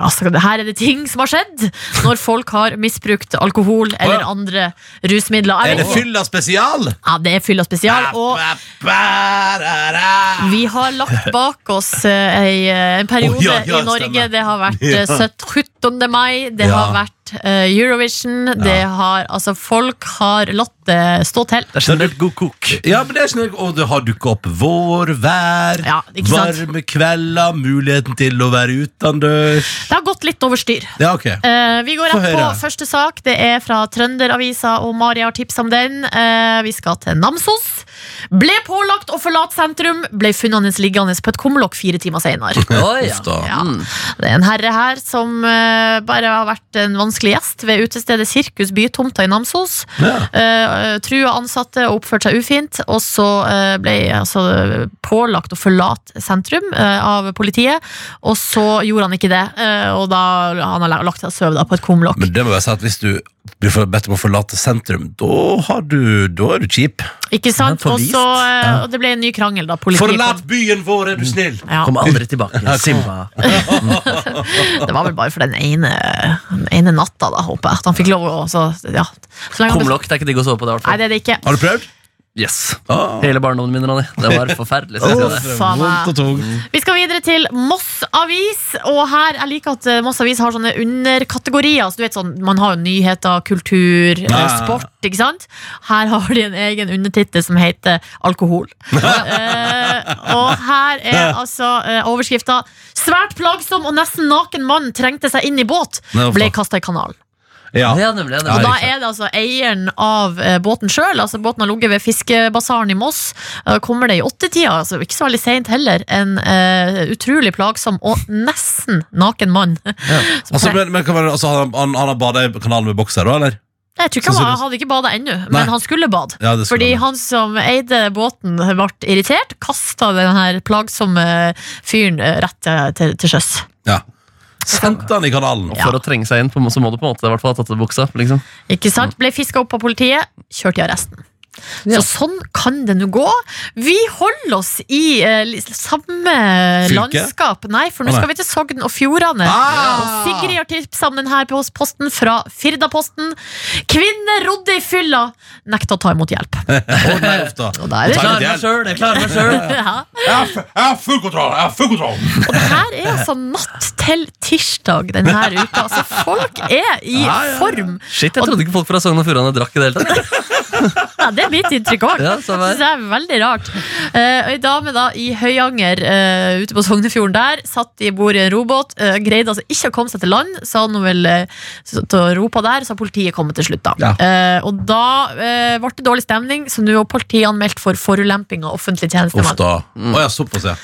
altså, her er det ting som har skjedd når folk har misbrukt alkohol eller andre rusmidler. Jeg
Er det
vet-
fylla spesial?
Ja, det er fylla spesial. Og
Ba-ba-ra-ra.
Vi har lagt bak oss eh, ei, eh, en periode
Å, ja, ja,
i Norge.
stemmer.
Det har vært
Ja.
eh, 17. mai, det
Ja.
har vært eh, Eurovision. Det har, altså, folk har latt det stå til.
Det er generelt god kok.
Ja, men det er sånn, og det har dukket opp vår, vær,
Ja, ikke sant?
varme kvelder, muligheten til å være utendørs.
Det har gått litt over styr.
Ja, ok.
Eh, vi går
Få
rett på
høre.
første sak. Det er fra Trønderavisa, og Mari har tips om den. Eh, vi skal til Namsos. Ble pålagt å forlate sentrum, ble funnet liggende på et kumlokk fire timer senere.
Oi, ja.
Uff da.
Ja. Mm. Det er en herre her som eh, bare har vært en vanskelig gjest ved utestedet Sirkus Bytomta i Namsos.
Ja.
Eh, trua ansatte og oppførte seg ufint, og så eh, ble jeg altså pålagt å forlate sentrum eh, av politiet, og så gjorde han ikke det, eh, og da han har lagt seg og sovet da på et kumlokk.
Men det må jeg si at hvis du blir for- bedt om å forlate sentrum, da, har du, da er du kjip.
Ikke sant?
han er
Og
forvist.
så eh, og det ble en ny krangel da politiet
Forlat byen vår, er du snill!
Ja,
Kom aldri tilbake. Simba.
det var vel bare for den ene, den ene natta, da, håper jeg. At han fikk lov å så, ja. så lenge han-
Kumlokk, det er ikke digg å sove på det, i hvert
Nei,
fall.
det er det ikke.
Har du prøvd?
Yes.
Ah.
Hele barndommen min, Ronny. Det var forferdelig. skal jeg si deg.
Uff, faen meg.
Vondt og tungt.
Vi skal videre til Moss Avis, og her, jeg liker at eh, Moss Avis har sånne underkategorier. Så du vet sånn, Man har jo nyheter, kultur, eh,
Ja.
sport, ikke sant? Her har de en egen undertittel som heter alkohol. Eh, og her er altså uh, overskrifta 'Svært plagsom og nesten naken mann trengte seg inn i båt,
Nei, hva faen?
ble kasta i kanalen'.
Ja.
Ja, nemlig. Ja,
Og
nemlig.
da er det altså eieren av eh, båten sjøl. Altså båten har ligget ved fiskebasaren i Moss. Eh, Kommer det i åttetida, altså ikke så veldig seint heller, en eh, utrolig plagsom og nesten naken mann. Som
Altså,
tre-
men, men, kan man, altså, han, han, han har bada i kanalen med bokser, da, eller?
jeg tror ikke
Sannsynligvis.
han, var- han hadde ikke bada ennå,
Nei.
men han skulle bade.
Ja, det skulle
Fordi
han.
han som eide båten, ble irritert, kasta den her plagsomme fyren eh, rett til, til, til sjøs.
Ja. Sendte han i kanalen.
For å trenge seg inn, på, så må du på en måte i hvert fall ha tatt av buksa. Liksom.
Ikke sant? Ble fiska opp av politiet, kjørt i arresten. Så sånn kan det nå gå. Vi holder oss i eh, li- samme
Fylke?
landskap. Nei, for nå
Å, nei.
skal vi til Sogn og Fjordane. Og
Ah!
Sigrid har tipsa om denne posten fra Firdaposten. Kvinne rodde i fylla, nekta å ta imot hjelp.
Eh,
Å, nei, uff da.
Og der er
Takk.
det.
Klarer meg
sjøl!
sånn,
Jeg klarer meg sjøl!
Ja.
Jeg har f- jeg har full kontroll! Jeg har full kontroll!
Og det her er altså natt til tirsdag denne uka. Altså, folk er i form.
Shit, jeg trodde ikke folk fra Sogn og Fjordane drakk i det hele tatt.
Ja, det er mitt inntrykk òg.
Ja,
det
samme her.
synes jeg er veldig rart. Eh, Ei dame da i Høyanger eh, ute på Sognefjorden der satt i bord i en robåt. eh, greide altså ikke å komme seg til land, sa hun vel eh, satt og ropa der, så har politiet kommet til slutt, da.
Ja.
Eh, og da eh, ble det dårlig stemning, så nå er politiet anmeldt for forulemping av offentlig
Uff
tjenestemann.
da. Å ja, såpass, ja.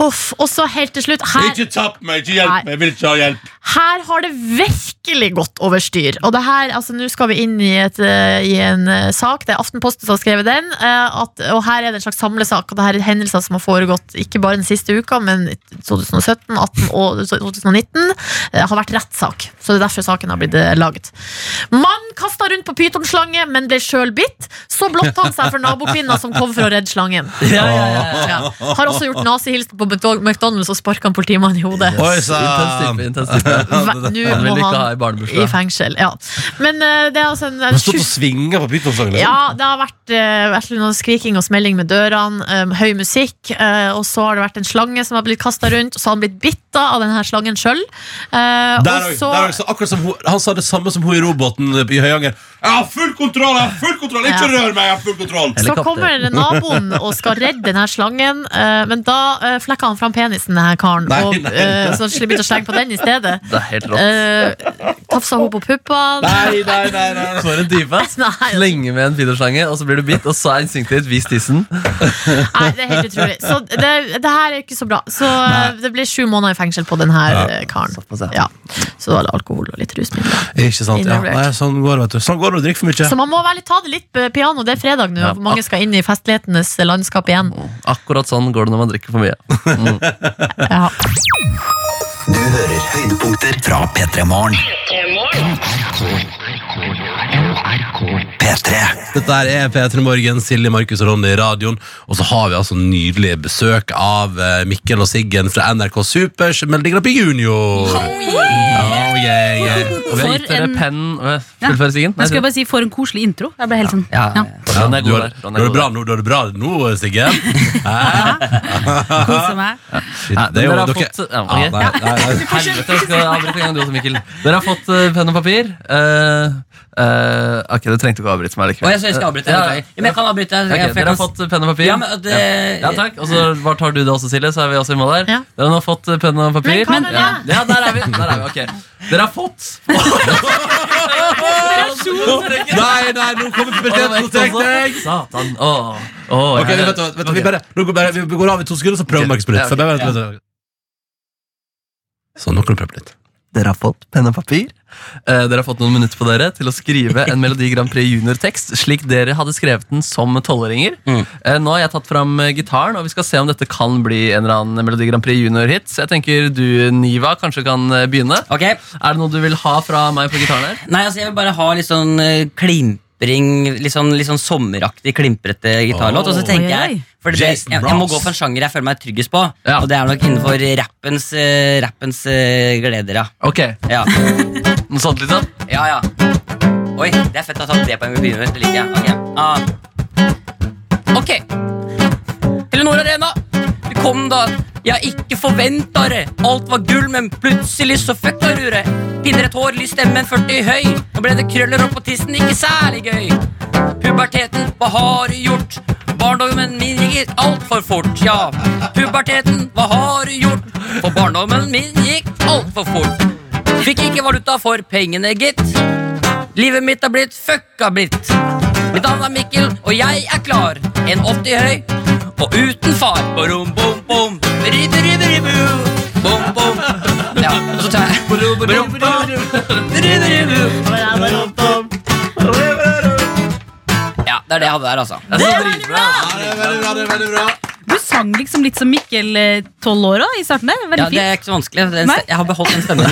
Uff, og så helt til slutt her
Ikke tapp meg! Ikke
Nei.
hjelp meg! Jeg vil ikke ha hjelp!
her har det virkelig gått over styr. Og det her, altså Nå skal vi inn i, et, eh, i en eh, sak, det er Aftenposten som har skrevet den. eh, At, og Her er det en slags samlesak. og det her er hendelser som har foregått ikke bare den siste uka, men i 2017, 18 og 2019. eh, har vært rettssak. Så det er derfor saken har blitt eh, laget. Mann kasta rundt på pytonslange, men ble sjøl bitt. Så blotta han seg for nabokvinna som kom for å redde slangen.
Ja, ja, ja, ja.
Ja. Har også gjort nazihilsen på McDonald's og sparka en politimann i hodet.
Oi
Intens
sann!
type, intens type.
Ve-
Han
Nå
vil
må
ikke ha
han
i
i
barnebursdag.
fengsel. Ja. Men eh, det er altså en,
Han
en
stått og
tjus-
svinga på pytonsangen. liksom.
ja, det har vært, eh, vært noe skriking og smelling med dørene, eh, høy musikk, eh, og så har det vært en slange som har blitt kasta rundt, og så har han blitt bitt, da, knotter av denne slangen Eh, sjøl.
Der er- der er- så akkurat som hun, han sa det samme som hun i robåten i Høyanger. Jeg har full kontroll! jeg har full kontroll Ikke
Ja.
rør meg! jeg har full kontroll
Så kommer naboen og skal redde denne slangen, eh, men da eh, flekker han fram penisen, denne karen.
Nei,
og,
nei,
eh,
nei.
så han begynte å slenge på den i stedet.
Det er helt rått.
Uh, tafsa hun på puppene.
Nei, nei, nei, nei.
For en type. ass.
Nei, altså.
Slenge med en fiderslange, og så blir du bitt, og så er instinktet ditt 'vis tissen'.
Nei, det er helt utrolig. Så det, det her er ikke så bra. Så eh, det ble sju måneder i fengsel på den her eh, karen.
Såpass,
Ja. Så da var det alkohol og litt rusmidler.
Ikke sant, ja.
Involvert.
Nei, sånn går det, vet du. Sånn går det å drikke for mye.
Så man må vel ta det litt eh, piano. Det er fredag nå,
Ja.
og mange skal inn i festlighetenes landskap igjen.
Akkurat sånn går det når man drikker for mye. Mm.
Ja.
Du hører høydepunkter fra P3 Morgen. P3.
Dette her er P3 Morgen, Silje, Markus og Ronny i radioen. Og så har vi altså nydelig besøk av eh, Mikkel og Siggen fra NRK Supers Melodi Grand Prix Junior.
Oh,
Ja, yeah, yeah.
Og vi har
For
gitt dere
en-
penn øh,
Ja.
Fullfør, Siggen. Nei,
Jeg skulle bare si For en koselig intro. Jeg ble helt sånn
Ja,
ja.
ja. ja. Den er
Du
god
har
der.
du
Den
har
er
det
god
bra
der.
nå, du har det bra nå, Siggen.
Koser meg.
Shit, det er jo
Dere har
dere
fått-
ja,
ja,
Ah, nei,
ok.
nei, nei.
Helvete, jeg skal avbryte en gang du også, Mikkel. Dere har fått eh, penn og papir. Eh, eh, ok, du trengte ikke å avbryte meg
Og
likevel.
jeg, så jeg skal avbryte.
Ja,
beklager. Ja, men jeg kan avbryte. Jeg,
Ok,
jeg,
dere har fått eh, penn og papir.
Ja, men eh, det-
ja. ja takk. Og så bare tar du det også, Silje, så er vi også i mål der.
Ja.
Dere har nå fått eh, penn og papir.
Men kan dere-
ja. ja, der er vi. Der er vi, ok Dere har fått
nei, nei, nå kommer puberteten og trekker
altså.
deg!
Satan. Åh. Åh,
Ok,
jeg-
vet du, hva, vet du, hva, vi, bare, nå går bare, vi går av i to sekunder, så prøver
Ok.
Markus på nytt.
Ja,
For
ok.
bare vent litt. Sånn, nå kan du prøve på nytt.
Dere har fått penn og papir. Eh, dere har fått noen minutter på dere til å skrive en Melodi Grand Prix Junior-tekst slik dere hadde skrevet den som tolvåringer. Eh, nå har jeg tatt fram eh, gitaren, og vi skal se om dette kan bli en eller annen Melodi Grand Prix Junior-hit. Så jeg tenker du, Niva, kanskje kan eh, begynne.
Ok,
Er det noe du vil ha fra meg på gitaren her?
Nei, altså, jeg vil bare ha litt sånn eh, klimpring, litt sånn, litt sånn sommeraktig, klimprete gitarlåt. Og så
Oh.
tenker
Oi, oi.
jeg for det, jeg,
Jason
jeg må
Mraz.
gå for en sjanger jeg føler meg tryggest på,
Ja.
og det er nok innenfor rappens, eh, rappens eh, gleder, ja.
Ok,
ja.
noe sånt liksom.
Ja, ja. Oi, det er fett å ha tatt det poenget vi begynner med. Det liker jeg. Ok. Ah. Ok. Telenor Arena. Vi kom da. Jeg ikke forventa det. Alt var gull, men plutselig så fucka ruret. Pinner et hår, lys stemme, 40 høy. Nå ble det krøller opp på tissen, ikke særlig gøy. Puberteten, hva har du gjort? Barndommen min gikk altfor fort, ja. Puberteten, hva har du gjort? For barndommen min gikk altfor fort. Fikk ikke valuta for pengene, gitt. Livet mitt er blitt fucka blitt. Mitt navn er Mikkel, og jeg er klar. En 80 høy og uten far. Borom, bom, bom. Ribberibberibu. Bom, bom. Ja, og så tar jeg Borom, borom, bom. Ribberibu. Ja, det er det jeg hadde der, altså.
Det er dritbra!
Du sang liksom litt som Mikkel eh, 12 år også, i starten der. Veldig
Ja, det er ikke så vanskelig. Det er en ste-
Nei.
Jeg har beholdt den stemmen.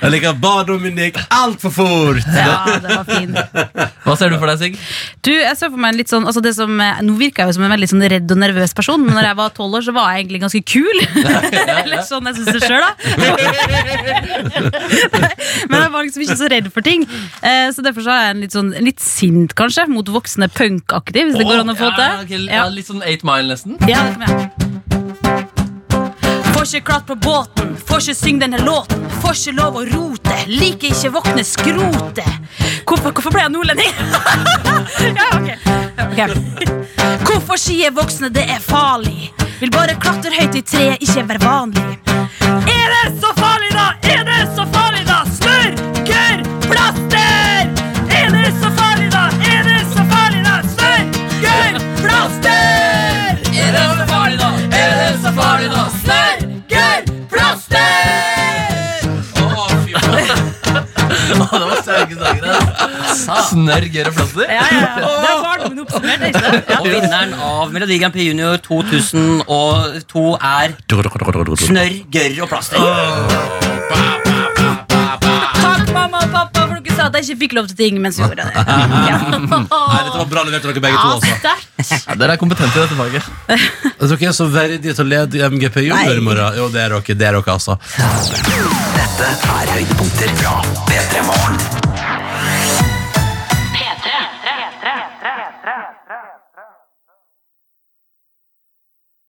Jeg liker barndommen min gikk altfor fort!
fint. Ja, det var fint.
Hva ser du for deg, Sigg?
Du, jeg ser for meg en litt sånn, altså det som, eh, Nå virker jeg jo som en veldig sånn redd og nervøs person, men når jeg var tolv år, så var jeg egentlig ganske kul. Eller sånn jeg syns det sjøl, da. men jeg var liksom ikke så redd for ting. Eh, så derfor så er jeg en litt sånn litt sint, kanskje, mot voksne punkaktig, hvis det går an å få
Ja, ok,
til.
ja, litt sånn 8 Mile nesten.
Ja, det kommer jeg. Får ikke klart på båten, får ikke synge denne låten. Får ikke lov å rote, liker ikke våkne skrotet. Hvorfor, hvorfor ble jeg nordlending? ja, ok. Ok. Hvorfor sier voksne det er farlig? Vil bare klatre høyt i treet, ikke være vanlig. Er det så farlig, da? Er det så farlig, da? Smørker plaster! Er det så farlig, da? Er det så farlig, da? Smørker plaster!
Er det så farlig, da? Er det så farlig, da? Snørker plaster!
Å, det var sterke saker. altså. Snørr gjør plaster.
Ja, ja, ja. Det er varmt, men oppsummert. ikke sant?
Og vinneren av Melodi Grand Prix Junior 2002 er Snørr, gørr og plaster.
Takk, mamma og pappa, for dere sa at jeg ikke fikk lov til ting mens vi gjorde det. Ja.
Nei, dette var bra levert av dere begge to.
Ja,
Altså.
sterkt.
Ja, dere er kompetente i dette faget.
Jeg tror ikke jeg er så verdig til å lede i MGP Junior i morgen. Jo, det er dere, det er dere altså.
Dette er høydepunkter fra P3 Morgen.